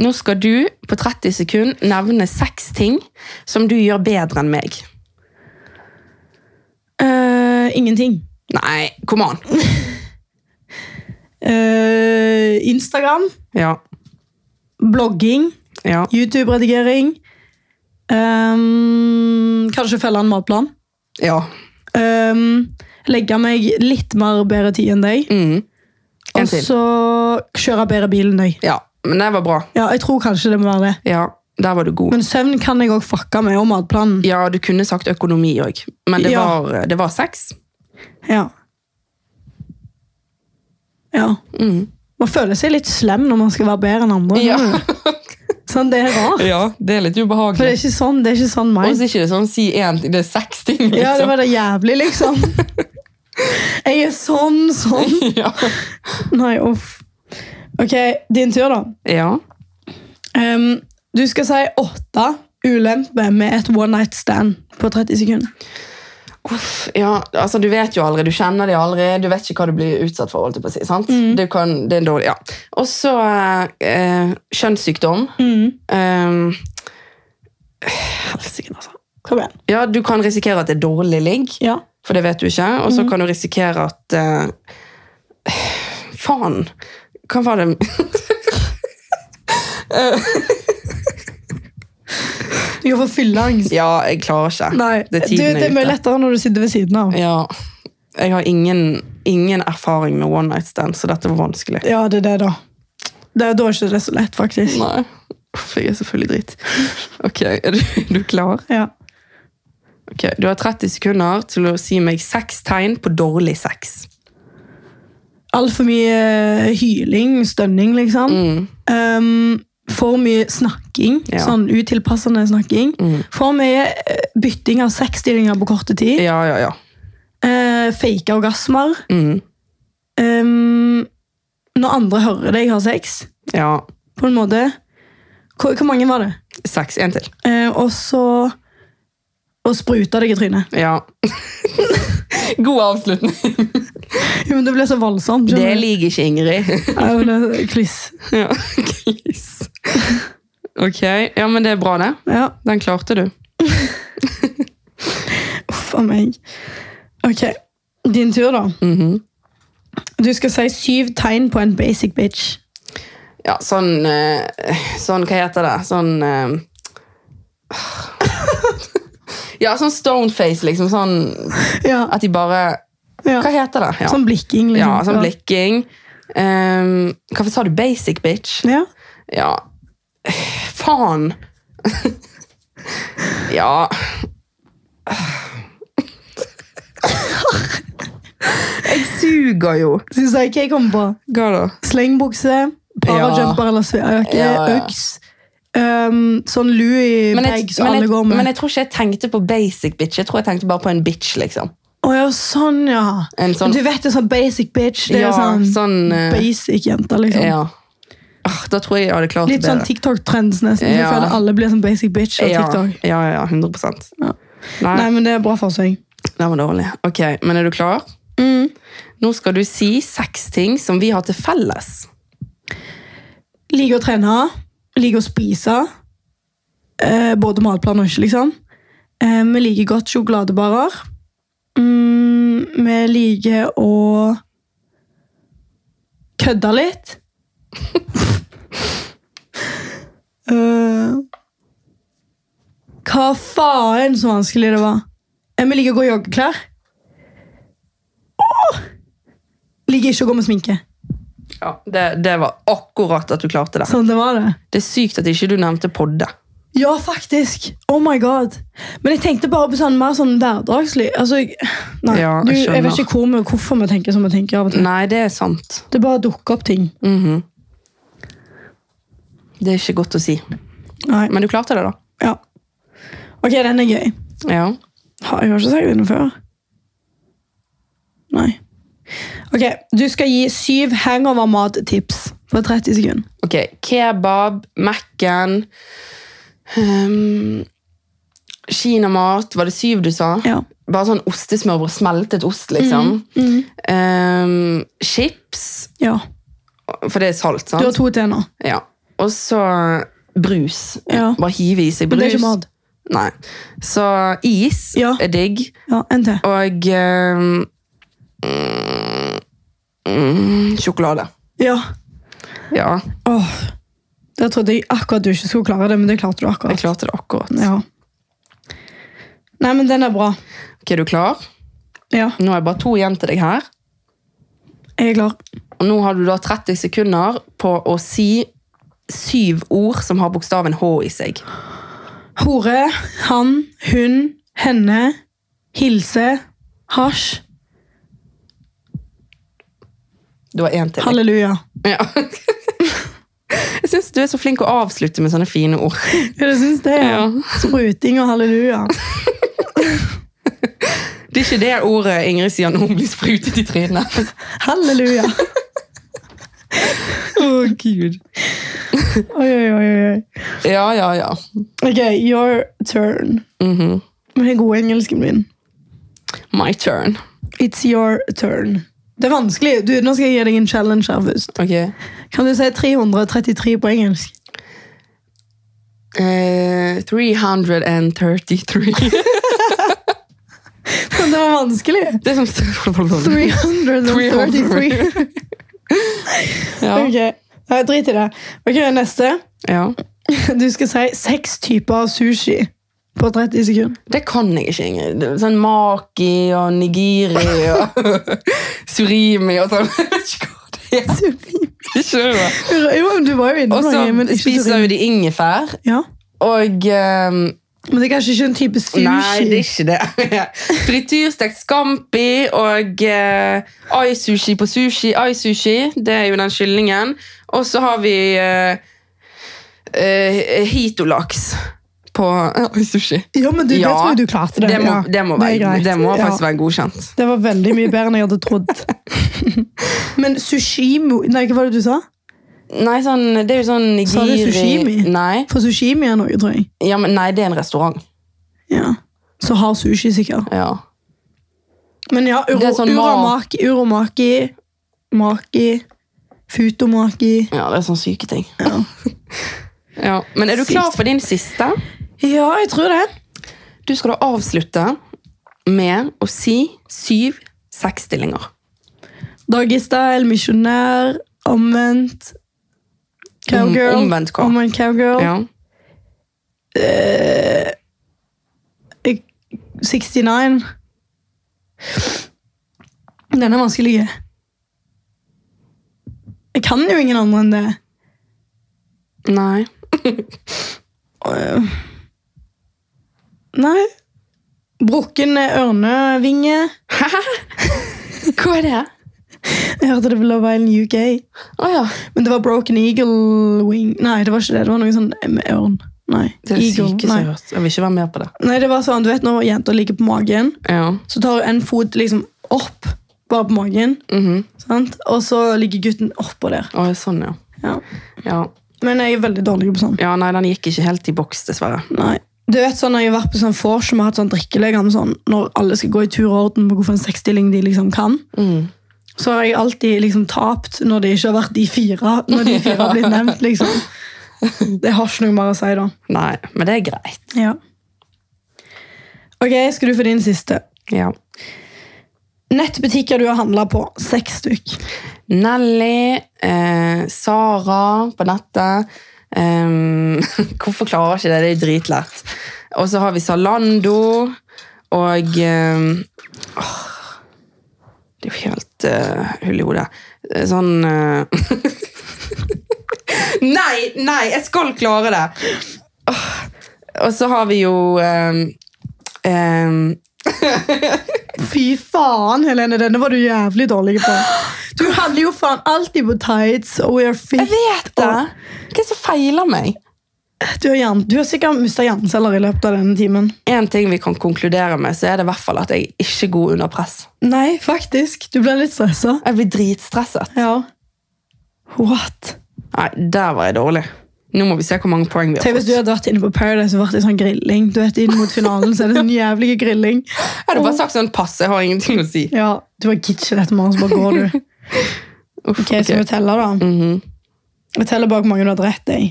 Nå skal du på 30 sekund nevne seks ting som du gjør bedre enn meg.
Eh, ingenting.
Nei, kom an.
Eh, Instagram,
Ja.
blogging,
ja.
YouTube-redigering. Ehm, kanskje følge en matplan.
ja.
Ehm, legge meg litt mer bedre tid enn deg.
Mm.
Og
En til.
så kjøre bedre bil enn deg.
Ja, men det var bra.
Ja, jeg tror kanskje det må være det.
Ja, der var du god.
Men søvn kan jeg òg fucke med, og matplanen.
ja, du kunne sagt økonomi òg, men det,
Ja.
var, det var seks.
Ja. Ja.
(laughs) Mm.
Man føler seg litt slem når man skal være bedre enn andre. (laughs)
(laughs)
Sånn, det er rart.
det er litt
For det er
ubehagelig.
ikke sånn, det er ikke sånn
Og
meg.
så er ikke det sånn si én ting, det er seks ting. Liksom.
Ja, det var det jævlig,
(laughs)
liksom. Jeg er sånn, sånn.
ja.
Nei, uff. Ok, din tur, da.
ja.
Ehm, du skal si åtte ulemper med et one night stand på 30 sekunder.
Uff, ja, altså Du vet jo aldri, du kjenner de aldri, du vet ikke hva du blir utsatt for. holdt jeg på å si, sant?
Mm.
Du kan, det er en dårlig, ja. Og så eh, kjønnssykdom. Eh, Helsike, altså.
Kom igjen.
Ja, du kan risikere at det er dårlig ligg,
Ja.
for det vet du ikke. Og
Mm.
så kan du risikere at eh, Faen! Hva var det (laughs)
Du kan få fylleangst.
Ja, jeg klarer ikke.
Nei,
det er
du,
tiden
det er
er
mye
ute.
lettere når du sitter ved siden av.
Ja, jeg har ingen, ingen erfaring med one night stand, så dette var vanskelig.
Ja, det er det, da. Det er, da er ikke det så lett, faktisk.
Nei. Uff, jeg er selvfølgelig dritt. Ok, er du, er du klar?
Ja.
Ok, Du har 30 sekunder til å si meg seks tegn på dårlig sex.
Altfor mye eh, hyling, stønning, liksom.
Mm.
Ehm, for mye snakking,
Ja. Mm.
sånn utilpassende snakking. For mye eh, bytting av sexstillinger på korte tid.
Ja, ja, ja.
Eh, fake orgasmer.
Mm.
Ehm, når andre hører deg ha sex,
Ja,
på en måte. Hvor, hvor mange var det?
Seks. En til.
Eh, og så Å sprute deg i trynet.
Ja. (laughs) God avslutning.
Jo, (laughs) men det ble så voldsomt.
Det
skjønner du?
liker ikke Ingrid.
Ja, jo, det er Kliss.
(laughs) Ja, glis. Ok, ja, men det er bra det.
Ja,
Den klarte du.
uff a meg. Ok, din tur, da.
Mhm.
Du skal si syv tegn på en basic bitch.
Ja, sånn, eh, sånn Hva heter det? Sånn eh, (laughs) Ja, sånn stoneface, liksom. Sånn
Ja,
at de bare
ja.
Hva heter det? Ja,
Sånn blikking,
ja
liksom.
sånn blikking. Um, hva sa du? Basic bitch?
Ja.
Ja Faen! (laughs) ja Jeg suger jo.
Syns jeg ikke jeg kom på.
Hva da?
Slengbukse, parajumper eller svejakke,
Ja, ja.
øks. Um, sånn Louis-bag som
men,
alle går
jeg, men
med.
jeg tror ikke jeg tenkte på basic bitch. Jeg tror jeg tenkte bare på en bitch, liksom.
Å ja, sånn, ja.
En sånn-
Du vet det er sånn basic bitch. Det
Ja,
er sånn,
sånn, eh,
basic jente, liksom.
Ja. Ah, da tror jeg jeg hadde klart det
Litt sånn
bedre.
TikTok-trends, nesten. Jeg
Ja.
føler alle blir sånn basic bitch av
ja,
TikTok.
ja, ja, 100
Ja.
Nei,
Nei, men det er bra forsøk.
den var dårlig. Ok, Men er du klar? Mm. Nå skal du si seks ting som vi har til felles.
Liker å trene. Liker å spise. Eh, både matplan og ikke, liksom. Eh, vi liker godt sjokoladebarer. Mm, vi liker å kødde litt. (laughs) eh, hva faen så vanskelig det var. Eh, vi liker å gå i joggeklær. Åh! Liker ikke å gå med sminke.
Ja, det, det var akkurat at du klarte det.
Sånn det var det.
Det er sykt at ikke du nevnte podde.
Ja, faktisk. Oh my god. Men jeg tenkte bare på sånn mer sånn hverdagslig. Altså, jeg- nei,
Ja, jeg
du, jeg vet
skjønner.
ikke hvor vi, hvorfor vi tenker som vi tenker av og til.
Nei, det er sant.
Det bare dukker opp ting.
Mhm. Det er ikke godt å si.
Nei,
Men du klarte det, da.
ja. Ok, den er gøy.
Ja.
Har jeg har ikke sagt den før? Nei. Ok, du skal gi syv hangover-mattips på 30 sekunder.
Ok, kebab, Mac-en ehm, Kinamat, var det syv du sa?
Ja.
Bare sånn ostesmørbrød, smeltet ost, liksom. Ehm, chips,
ja.
for det er salt, sant?
Du har to til nå.
Ja. Og så brus.
Ja.
Bare hive i seg brus.
Men det er ikke mat.
Nei. Så is
Ja.
er digg.
Ja, en til.
Og ehm, mm, mm, sjokolade.
Ja.
Ja,
Åh. Der trodde jeg akkurat du ikke skulle klare det, men det klarte du akkurat.
jeg klarte det akkurat.
Ja. Nei, men den er bra.
Ok, er du klar?
Ja,
Nå er det bare to igjen til deg her.
jeg er klar.
Og nå har du da 30 sekunder på å si syv ord som har bokstaven H i seg.
Hore, han, hun, henne, hilse, hasj,
Du har én til. deg.
halleluja.
Ja. (laughs) Jeg syns du er så flink å avslutte med sånne fine ord.
Ja, du syns det? Ja.
Ja.
Spruting og halleluja.
Det er ikke det ordet Ingrid sier når hun blir sprutet i trynet.
Halleluja.
Å, Gud.
Oi, oi, oi. oi.
Ja, ja, ja.
Ok, your turn.
Mhm.
Med den gode engelsken min.
My turn.
It's your turn. Det er vanskelig. Du, nå skal jeg gi deg en challenge her først.
Ok.
Kan du si 333 på engelsk? (laughs)
Eh, 333
Det var vanskelig.
(laughs) Det er sånn
333.
ja,
Ok, Nei, drit i det. Ok, Neste.
ja.
Du skal si seks typer sushi på 30
(laughs)
sekunder.
Det kan jeg ikke, Ingrid. Det er Sånn maki og nigiri og (laughs) surimi og sånn. Jeg vet ikke hva det er. Jeg skjønner.
Jo, men Du var jo inne
Og
på
så
noe, men ikke
spiser
surimi.
jo de ingefær.
Ja.
Og eh,
Men det er kanskje ikke en type sushi.
Nei, det er ikke det. (laughs) Frityrstekt scampi og eh, ai-sushi på sushi. Ai-sushi, det er jo den kyllingen. Og så har vi eh, eh, hitolaks på ai-sushi.
Ja, men du, det
Ja,
tror jeg du klarte det.
Det, må-
Ja,
det, må
er
være-
greit.
det må faktisk
ja.
være godkjent.
Det var veldig mye bedre enn jeg hadde
(laughs)
trodd. men sushimo Nei, hva var det du sa?
Nei, sånn, det er jo sånn nigiri
Sa du sushimi?
Nei.
For sushimi er noe, tror jeg.
Ja, men, nei, det er en restaurant.
Ja. Så har sushi sikkert.
Ja.
Men ja, uro,
Det er sånn ma-
uramaki, uromaki, maki, futomaki.
Ja, det er sånne syke ting. (laughs) Ja.
Ja.
Men er du
Sykt.
klar for din siste?
ja, jeg tror det.
Du skal da avslutte med å si syv seksstillinger.
Dagistyle, misjonær, omvendt cowgirl.
Om- omvendt hva?
Omvendt cowgirl. Eh,
Ja.
69. Den er vanskelig. Jeg kan jo ingen andre enn det.
Nei.
Øh. Nei. Brukken ørnevinge.
(laughs) Hæ? Hva er det?
Jeg hørte det på Love Island UK.
Å ja.
Men det var Broken Eagle Wing. Nei, det var ikke det. Det var noe sånn med ørn. Nei.
Det er det
Eagle.
sykeste jeg
Nei.
har hørt. Jeg vil ikke være med på det.
Nei, det var sånn, du vet når jenter ligger på magen,
Ja.
så tar hun en fot liksom opp, bare på magen,
Mhm.
sant? og så ligger gutten oppå der.
Å, sånn, ja.
Ja.
ja.
Men jeg er veldig dårlig på sånn.
Ja, nei, den gikk ikke helt i boks, dessverre.
Nei. Du vet sånn, når jeg har vært på sånn vors, og vi har hatt sånn drikkelegger med sånn, når alle skal gå i tur og orden på hvorfor en seksstilling de liksom kan,
Mm.
så har jeg alltid liksom tapt når det ikke har vært de fire, når de fire har blitt nevnt, liksom.
(laughs)
Det har ikke noe mer å si da.
Nei, men det er greit.
Ja. Ok, skal du få din siste.
Ja.
Nettbutikker du har handlet på, seks stykk.
Nelly, eh, Sara på nettet ehm, (laughs) Hvorfor klarer jeg ikke det? Det er dritlett. Og så har vi Zalando og ehm, åh, Det er jo helt eh, hull i hodet. Eh, Sånn eh, (laughs) Nei, nei, jeg skal klare det! Åh, Og så har vi jo ehm, ehm,
Fy faen, Helene, denne var du jævlig dårlig (gasps) på. Du handler jo faen alltid på tights og wear fit.
Jeg vet det! Hva er det som feiler meg?
Du har, jern, du har sikkert mista hjerneceller i løpet av denne timen.
en ting vi kan konkludere med, så er det i hvert fall at jeg ikke er god under press.
Nei, faktisk. Du ble litt stressa.
Jeg blir dritstresset.
Ja. What?
Nei, der var jeg dårlig. Nå må vi se hvor mange poeng vi har
Tenk hvis du
fått.
hadde vært inne på Paradise og vært i sånn grilling. Du vet, Inn mot finalen så er det sånn jævlig grilling.
Jeg hadde bare sagt sånn pass, jeg har ingenting å si.
Ja, Du bare gidder ikke dette, mann, så bare går (laughs) du.
Uff,
Ok, Så vi
ok.
teller, da.
Mhm,
Vi teller bak hvor mange du hadde rett i.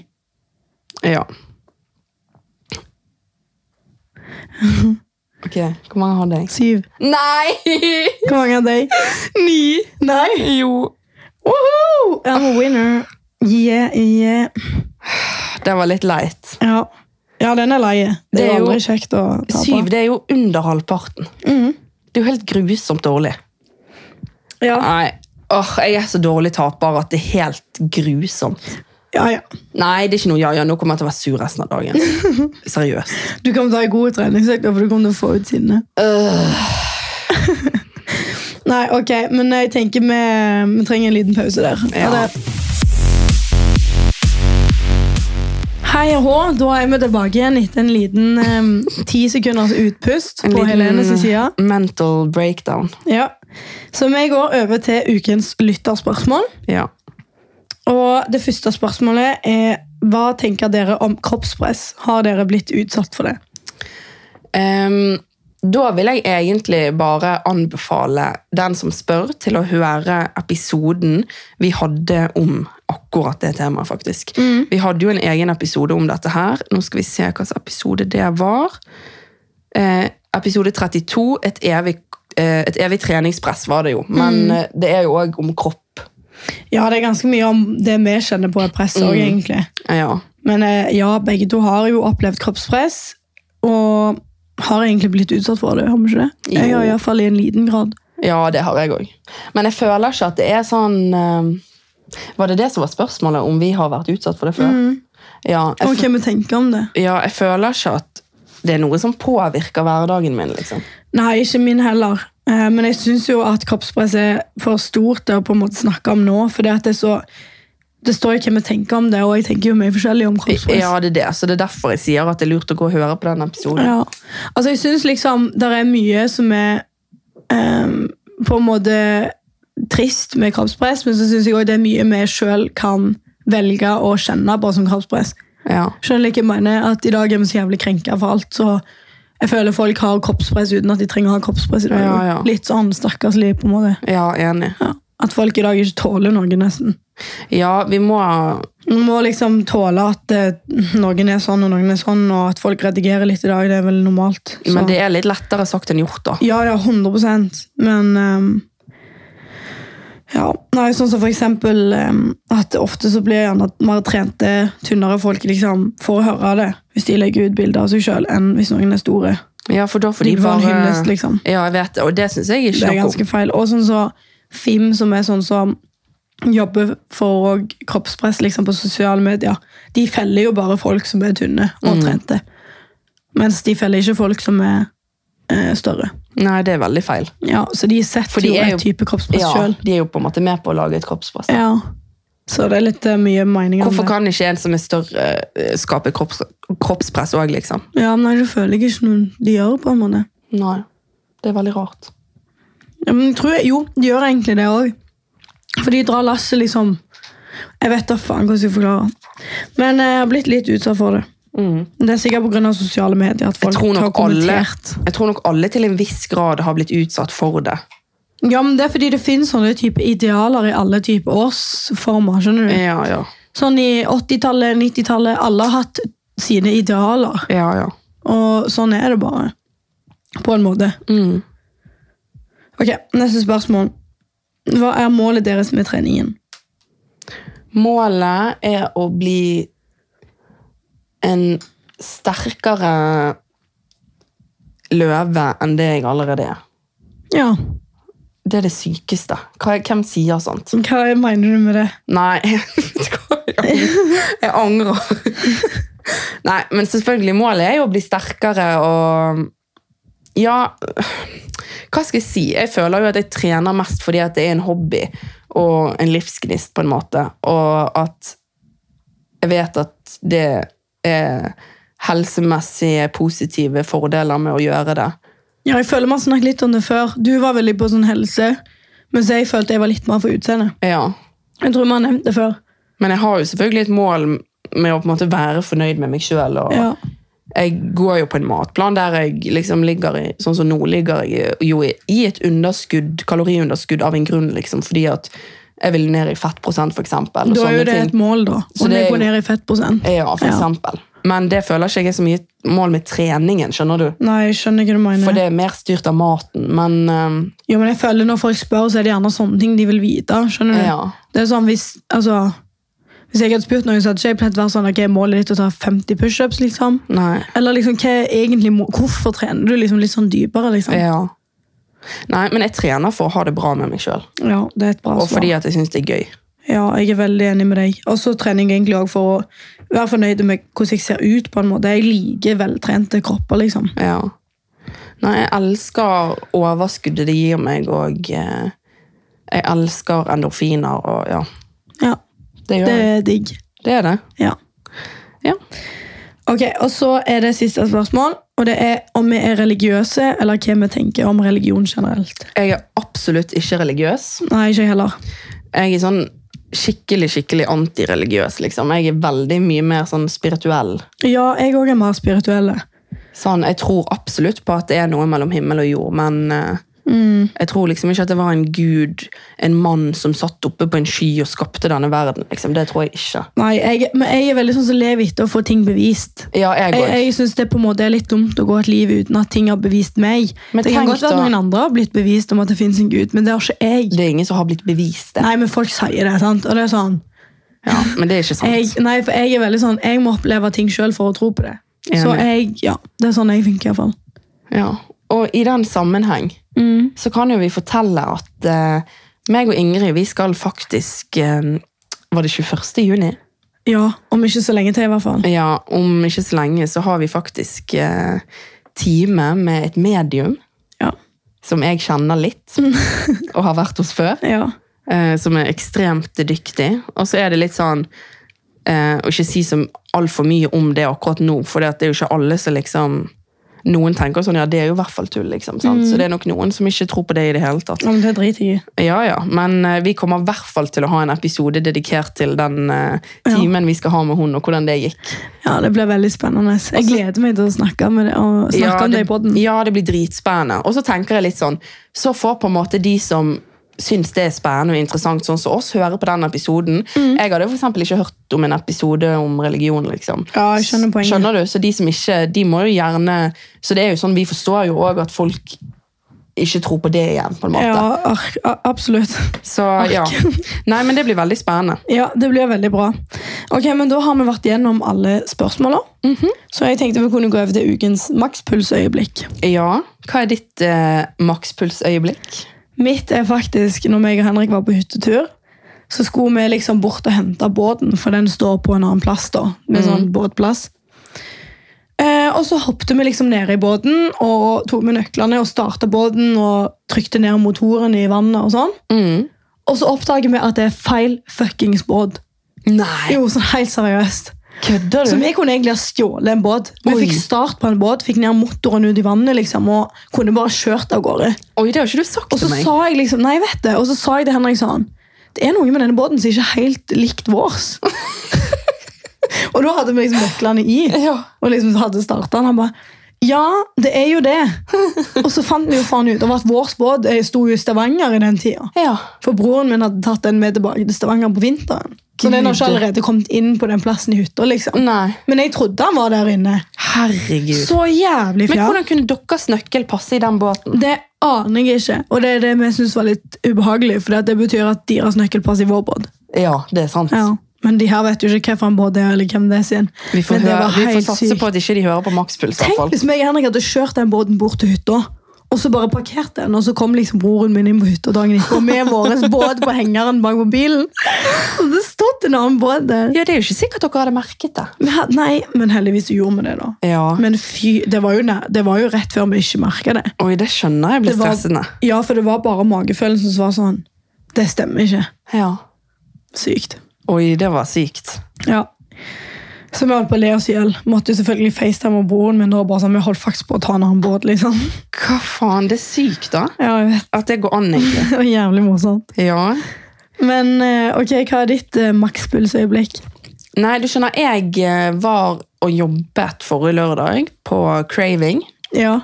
Ja. Ok, hvor mange hadde jeg?
Syv.
Nei! (laughs)
Hvor mange hadde jeg?
Ni!
Nei!
Jo.
Woohoo! I'm a winner. Yeah, yeah.
Det var litt leit.
Ja, ja den er leie. Det,
Det
er
er
jo
jo
aldri kjekt å tape.
Syv, det er jo under halvparten.
Mhm.
Det er jo helt grusomt dårlig.
Ja.
Nei, åh, jeg er så dårlig taper at det er helt grusomt.
ja, ja.
Nei, det er ikke noe ja, ja. Nå kommer jeg til å være sur resten av dagen. Seriøst.
Du kommer til å ha en god treningsøkt, for du kommer til å få ut sinne. (laughs) Nei, ok, men jeg tenker vi, vi trenger en liten pause der.
Ja.
Ha det. Hei og hå, da er vi tilbake igjen etter en liten eh, ti sekunders utpust
En
på
liten-
Helenes side.
Mental breakdown.
Ja. Så vi går over til ukens lytterspørsmål.
Ja.
Og det første spørsmålet er hva tenker dere om kroppspress? Har dere blitt utsatt for det?
Ehm, da vil jeg egentlig bare anbefale den som spør, til å høre episoden vi hadde om akkurat det temaet, faktisk. Vi hadde jo en egen episode om dette her. Nå skal vi se hva slags episode det var. Eh, episode 32, et evig, eh, et evig treningspress, var det jo. Men eh, det er jo òg om kropp.
Ja, det er ganske mye om det vi kjenner på er press
Mm.
òg, egentlig.
Ja.
Men eh, ja, begge to har jo opplevd kroppspress, og har egentlig blitt utsatt for det, har vi ikke det? Jeg
Jo.
har iallfall i en liten grad.
Ja, det har jeg òg. Men jeg føler ikke at det er sånn eh, Var det det som var spørsmålet, om vi har vært utsatt for det før?
Mm.
Ja,
Og
jeg,
hva vi tenker om det.
f- ja, jeg føler ikke at det er noe som påvirker hverdagen min, liksom.
Nei, ikke min heller. Eh, Men jeg syns jo at kroppspress er for stort til å på en måte snakke om nå. For det, at det, er så, det står jo hva vi tenker om det, og jeg tenker jo mye forskjellig om kroppspress.
Ja, det er det. Så det er derfor jeg sier at det er lurt å gå og høre på den episoden.
Ja. Altså, jeg syns liksom det er mye som er ehm, på en måte trist med kroppspress, men så syns jeg òg det er mye vi sjøl kan velge å kjenne på som kroppspress.
Ja.
Skjønner du hva jeg mener at i dag er vi så jævlig krenka for alt, så Jeg føler folk har kroppspress uten at de trenger å ha kroppspress. i dag.
Ja, ja.
Litt sånn stakkarslig, på en måte.
Ja, enig.
Ja. At folk i dag ikke tåler noe, nesten.
Ja, vi må
Man må liksom tåle at eh, noen er sånn og noen er sånn, og at folk redigerer litt i dag. Det er vel normalt. Så-
Men det er litt lettere sagt enn gjort, da.
Ja, ja, 100 Men ehm, ja, nei, sånn som for eksempel ehm, at ofte så blir gjerne at mer trente, tynnere folk liksom får høre det hvis de legger ut bilder av seg sjøl, enn hvis noen er store.
Ja, for da får
De
de
får en
bare
sånn hyllest, liksom.
Ja, jeg vet det, og det syns jeg
Det
ikke
er
noe om.
ganske feil. Og sånn så Fim, som er sånn som jobber for å- kroppspress liksom, på sosiale medier, de feller jo bare folk som er tynne
Mm.
og trente. Mens de feller ikke folk som er eh, større.
Nei, det er veldig feil.
Ja, Så de
For
setter
de
jo
er
et
jo-
type kroppspress
Ja,
sjøl.
de er jo på en måte med på å lage et kroppspress.
Ja. Så det er litt eh, mye meninger
Hvorfor
om det.
kan ikke en som er større, eh, skape kropps, kroppspress òg, liksom?
Ja, nei, det føler jeg ikke noen de gjør på en måte.
Nei, det er veldig rart.
Ja, men jeg tror jeg, jo, de gjør egentlig det òg. For de drar lasset, liksom. Jeg vet da faen hvordan jeg forklarer. Men eh, jeg har blitt litt utsatt for det. Det er sikkert pga. sosiale medier. at
Mm. Jeg
folk
tror,
har
nok alle,
kommentert.
jeg tror nok alle til en viss grad har blitt utsatt for det.
Ja, men Det er fordi det finnes sånne type idealer i alle typer årsformer. skjønner du?
Ja, ja.
Sånn i 80-tallet, 90-tallet. Alle har hatt sine idealer.
ja, ja.
Og sånn er det bare. På en måte.
Mm.
Ok, Neste spørsmål. Hva er målet deres med treningen?
Målet er å bli en sterkere løve enn det jeg allerede er.
Ja,
Det er det sykeste. Hva, hvem sier sånt?
Hva mener du med det?
Nei, (laughs) vet du hva? jeg jeg angrer. (laughs) Nei, men selvfølgelig, målet er jo å bli sterkere og Ja, hva skal jeg si? Jeg føler jo at jeg trener mest fordi at det er en hobby og en livsgnist, på en måte. Og at jeg vet at det er helsemessige positive fordeler med å gjøre det.
Ja, jeg føler man snakket litt om det før. Du var veldig på sånn helse, mens jeg følte jeg var litt mer for utseende.
Ja.
Jeg tror man nevnte det før.
Men jeg har jo selvfølgelig et mål med å på en måte være fornøyd med meg sjøl. Og
Ja.
jeg går jo på en matplan der jeg liksom ligger i Sånn som nå ligger jeg jo i i et underskudd, kaloriunderskudd av en grunn, liksom, fordi at jeg vil ned i fettprosent, for eksempel. Og
Da er jo
sånne
det
ting.
et mål, da.
Så
Å
det er
gå
jo-
ned i fettprosent.
Ja, for
Ja.
eksempel. Men det føler ikke jeg er så mye et mål med treningen, skjønner du?
Nei, jeg skjønner ikke hva du
For
mener.
det er mer styrt av maten, men ehm,
Jo, men jeg føler Når folk spør, så er det gjerne sånne ting de vil vite. skjønner du?
Ja.
Det er sånn, Hvis altså, hvis jeg hadde spurt noen, så hadde ikke jeg pleid å være sånn ok, målet ditt er å ta 50 pushups. Liksom.
Nei.
Eller liksom, hva er egentlig, må- hvorfor trener du liksom litt sånn dypere? liksom?
Ja. Nei, men jeg trener for å ha det bra med meg sjøl,
Ja, det er et bra
og
svar.
fordi at jeg syns det er gøy.
Ja, jeg er veldig enig med deg. Og så trener jeg egentlig også for å være fornøyd med hvordan jeg ser ut. på en måte. Jeg liker veltrente kropper, liksom.
Ja. Nei, jeg elsker overskuddet det gir meg, og eh, jeg elsker endorfiner, og ja.
Ja,
Det gjør
Det
jeg.
er digg.
Det er det.
Ja.
Ja.
Ok, og så er det siste spørsmål, og det er om vi er religiøse, eller hva vi tenker om religion generelt.
Jeg er absolutt ikke religiøs.
Nei, ikke jeg heller.
Jeg er sånn skikkelig, skikkelig antireligiøs, liksom. Jeg er veldig mye mer sånn spirituell.
Ja, jeg òg er mer spirituell.
Sånn, jeg tror absolutt på at det er noe mellom himmel og jord, men eh, jeg tror liksom ikke at det var en gud, en mann, som satt oppe på en sky og skapte denne verden. Liksom. Det tror jeg ikke.
Nei, jeg, men jeg er veldig sånn som lever etter å få ting bevist.
Ja, jeg
Jeg,
går.
jeg synes det på en måte er litt dumt å gå et liv uten at ting har bevist meg.
Men
det kan
tenk
godt være
da-
noen andre har blitt bevist om at det finnes en gud, men det har ikke jeg.
Det er ingen som har blitt bevist det.
Nei, men folk sier det, sant? Og det er sånn,
Ja, men det er ikke sant.
jeg, nei, for jeg er veldig sånn, jeg må oppleve ting selv for å tro på det. Så
Enig.
jeg, ja, det er sånn jeg funker i hvert fall.
Ja. Og i den sammenheng så kan jo vi fortelle at eh, meg og Ingrid, vi skal faktisk eh, Var det 21. juni?
Ja, om ikke så lenge til i hvert fall.
Ja, om ikke så lenge så har vi faktisk eh, time med et medium
Ja,
som jeg kjenner litt, og har vært hos før.
ja.
eh, som er ekstremt dyktig. Og så er det litt sånn eh, å ikke si så altfor mye om det akkurat nå, for det at det er jo ikke alle som liksom noen tenker sånn, ja, det er jo i hvert fall tull, liksom. Sant? Så det er nok noen som ikke tror på det i det hele tatt.
Ja, men det driter jeg i.
Ja, ja, men eh, vi kommer i hvert fall til å ha en episode dedikert til den eh, timen vi skal ha med hun, og hvordan det gikk.
Ja, det blir veldig spennende. Jeg gleder meg til å snakke, med det, og snakke om Altså- det i podden.
ja, det blir dritspennende. Og så tenker jeg litt sånn, så får på en måte de som syns det er spennende og interessant, sånn som oss, høre på den episoden.
Mm.
Jeg hadde for eksempel ikke hørt om en episode om religion, liksom.
Ja, jeg skjønner poenget.
Skjønner du? Så de som ikke, de må jo gjerne Så det er jo sånn, vi forstår jo òg at folk ikke tror på det igjen, på en måte.
Ja, ar- a- absolutt.
Så ja. Nei, men det blir veldig spennende.
Ja, det blir veldig bra. Ok, men Da har vi vært gjennom alle spørsmåla. Så jeg tenkte vi kunne gå over til ukens makspulsøyeblikk.
Ja, hva er ditt eh, makspulsøyeblikk?
Mitt er faktisk når jeg og Henrik var på hyttetur, så skulle vi liksom bort og hente båten, for den står på en annen plass. da, med sånn båtplass. Eh, og så hoppet vi liksom ned i båten og tok med nøklene og starta båten og trykte ned motoren i vannet. Og sånn.
Mm.
Og så oppdager vi at det er feil fuckings båt.
Nei,
Jo, sånn helt seriøst.
kødder
Så
du?
vi kunne egentlig ha stjålet en båt. Vi
Oi.
fikk start på en båt, fikk ned motoren ut i vannet liksom, og kunne bare kjørt av gårde.
Oi, det har ikke du sagt
Og så
til meg.
sa jeg liksom, nei, vet det. Og så sa jeg til Henrik sånn, det er noe med denne båten som ikke er helt likt vårs. (laughs) og da hadde vi liksom nøklene i,
Ja.
og liksom hadde startet. Han bare, ja, det er jo det. og så fant vi jo faen ut av at vårs båt eh, sto jo i Stavanger i den tida.
Ja.
For broren min hadde tatt den med tilbake til Stavanger på vinteren. Så den har ikke
Gud.
allerede kommet inn på den plassen i hytta, liksom.
Nei.
Men jeg trodde han var der inne.
Herregud.
Så jævlig
men
fjern.
hvordan kunne deres nøkkel passe i den båten?
Det aner jeg ikke, og det er det vi syns var litt ubehagelig. For det betyr at deres nøkkel passer i vår båt.
Ja, det er sant.
Ja. Men de her vet jo ikke hvilken båt det er, eller hvem det er sin.
Vi får,
Men det
høre,
var
vi får
helt
satse
sykt.
på at ikke de hører på makspuls. i hvert
Tenk
fall.
hvis meg og Henrik hadde kjørt den båten bort til hytta. Og så bare parkerte den, og så kom liksom broren min inn på hytta dagen etter. Og med
(laughs)
vår båt på hengeren bak på bilen. Så det stod en annen båt der.
Ja, Det er jo ikke sikkert dere hadde merket det.
Vi had- Nei, men heldigvis så gjorde vi det, da.
Ja.
Men fy, det var jo, næ- det var jo rett før vi ikke merka det.
Oi, det skjønner jeg blir
Det var-
stressende.
Ja, for det var bare magefølelsen som var sånn Det stemmer ikke.
Ja.
Sykt.
Oi, det var sykt.
Ja. Så vi holdt på å le oss i hjel. Måtte jo selvfølgelig FaceTime med broren min. da, bare sånn, Vi holdt faktisk på å ta en annen båt, liksom.
Hva faen, det er sykt, da.
(laughs) Ja, jeg vet.
At det går an, egentlig. (laughs)
Det var jævlig morsomt.
Ja.
Men eh, ok, hva er ditt eh, makspulsøyeblikk?
Nei, du skjønner, jeg eh, var og jobbet forrige lørdag på Craving.
Ja.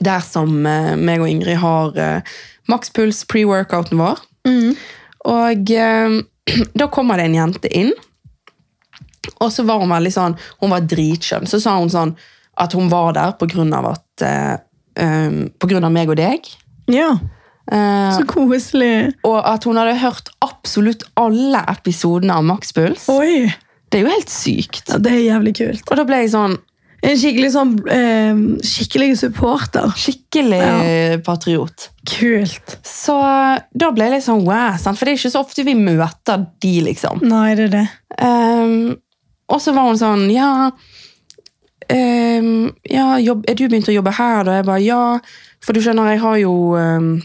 der som eh, meg og Ingrid har eh, makspuls pre-workouten vår.
Mm.
Og eh, (clears throat) da kommer det en jente inn, og så var hun veldig sånn, hun var dritskjønn. Så sa hun sånn at hun var der på grunn av at, eh, um, på grunn av meg og deg.
ja.
Eh,
Så koselig.
og at hun hadde hørt absolutt alle episodene av makspuls.
Oi!
Det er jo helt sykt.
Ja, det er jævlig kult.
Og da ble jeg sånn
En skikkelig sånn eh, skikkelig supporter.
skikkelig
Ja.
patriot.
Kult.
Så da ble jeg litt sånn wow, sant? for det er ikke så ofte vi møter de, liksom.
Nei, det er det.
Ehm, og så var hun sånn, ja, ehm, ja jobb, er du begynt å jobbe her? Da jeg bare, ja, for du skjønner, jeg har jo... ehm,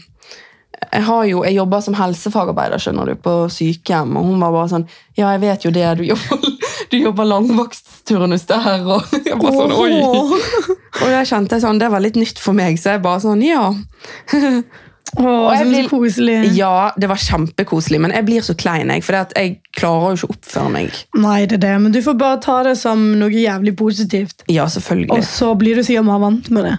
jeg, har jo, jeg jobber som helsefagarbeider skjønner du, på sykehjem, og hun var bare sånn Ja, jeg vet jo det, du jobber, du jobber langvaktsturnus der, og jeg bare sånn Oi!
Åh. (laughs)
Og jeg kjente sånn, det var litt nytt for meg, så jeg bare sånn Ja.
Åh,
Og jeg
så
blir-
koselig.
Ja, det var kjempekoselig, men jeg blir så klein, jeg. For jeg klarer jo ikke å oppføre meg.
Nei, det er det, men du får bare ta det som noe jævlig positivt.
Ja,
Og
selvfølgelig.
så blir du sikkert mer vant med det.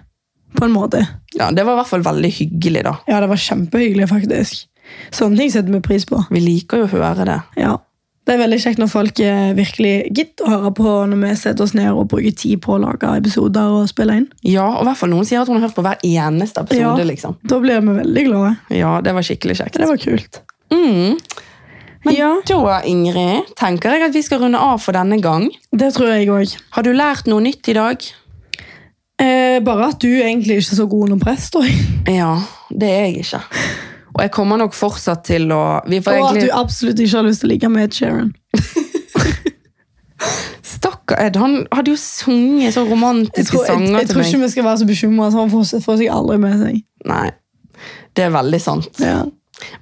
På en måte.
Ja, det var i hvert fall veldig hyggelig, da.
Ja, det var kjempehyggelig, faktisk. Sånne ting setter vi pris på.
Vi liker jo å høre det.
Ja. Det er veldig kjekt når folk eh, virkelig gidder å høre på når vi setter oss ned og bruker tid på å lage episoder og spille inn.
Ja, og i hvert fall noen sier at hun har hørt på hver eneste episode,
Ja.
liksom.
Da blir vi veldig glade.
Ja, det var skikkelig kjekt.
Det var kult.
Mm. Men
ja,
da, Ingrid, tenker jeg at vi skal runde av for denne gang.
det tror jeg òg.
Har du lært noe nytt i dag?
Eh, bare at du egentlig ikke er så god under press, da.
Ja, det er jeg ikke. Og jeg kommer nok fortsatt til å Vi får
Og at
egentlig
du absolutt ikke har lyst til å ligge med Ed Sheeran.
Stakkar Ed, han hadde jo sunget så
Jeg
romantiske
tror, jeg,
sanger
jeg tror
til meg.
ikke vi skal være så bekymra, så han får, får seg aldri med seg.
Nei, det er veldig sant.
Ja.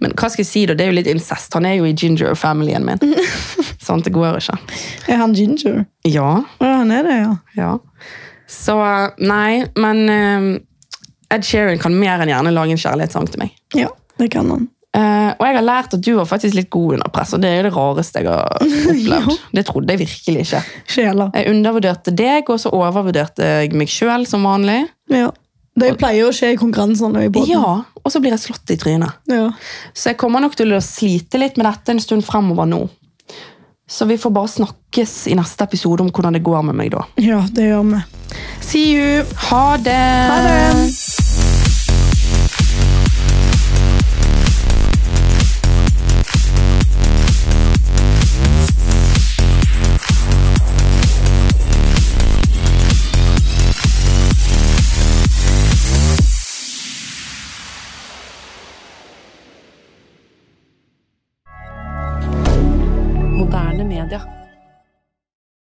Men hva skal jeg si da? Det er jo litt incest. Han er jo i ginger-familien min. Sant, det går ikke.
Er han ginger?
Ja,
Ja, han er det, ja.
ja. Så nei, men eh, Ed Sheeran kan mer enn gjerne lage en kjærlighetssang til meg.
Ja, det kan han.
Eh, og jeg har lært at du var faktisk litt god under press, og det er jo det rareste jeg har opplevd. Det trodde jeg virkelig ikke.
Sjela.
Jeg undervurderte deg, og så overvurderte jeg meg sjøl som vanlig.
Ja. Det pleier å skje i konkurranser når jeg er i båten.
Ja, Og så blir jeg slått i trynet.
Ja.
Så jeg kommer nok til å slite litt med dette en stund fremover nå. Så vi får bare snakkes i neste episode om hvordan det går med meg da.
ja, det gjør vi. See you!
Ha det!
Ha det!
Moderne media.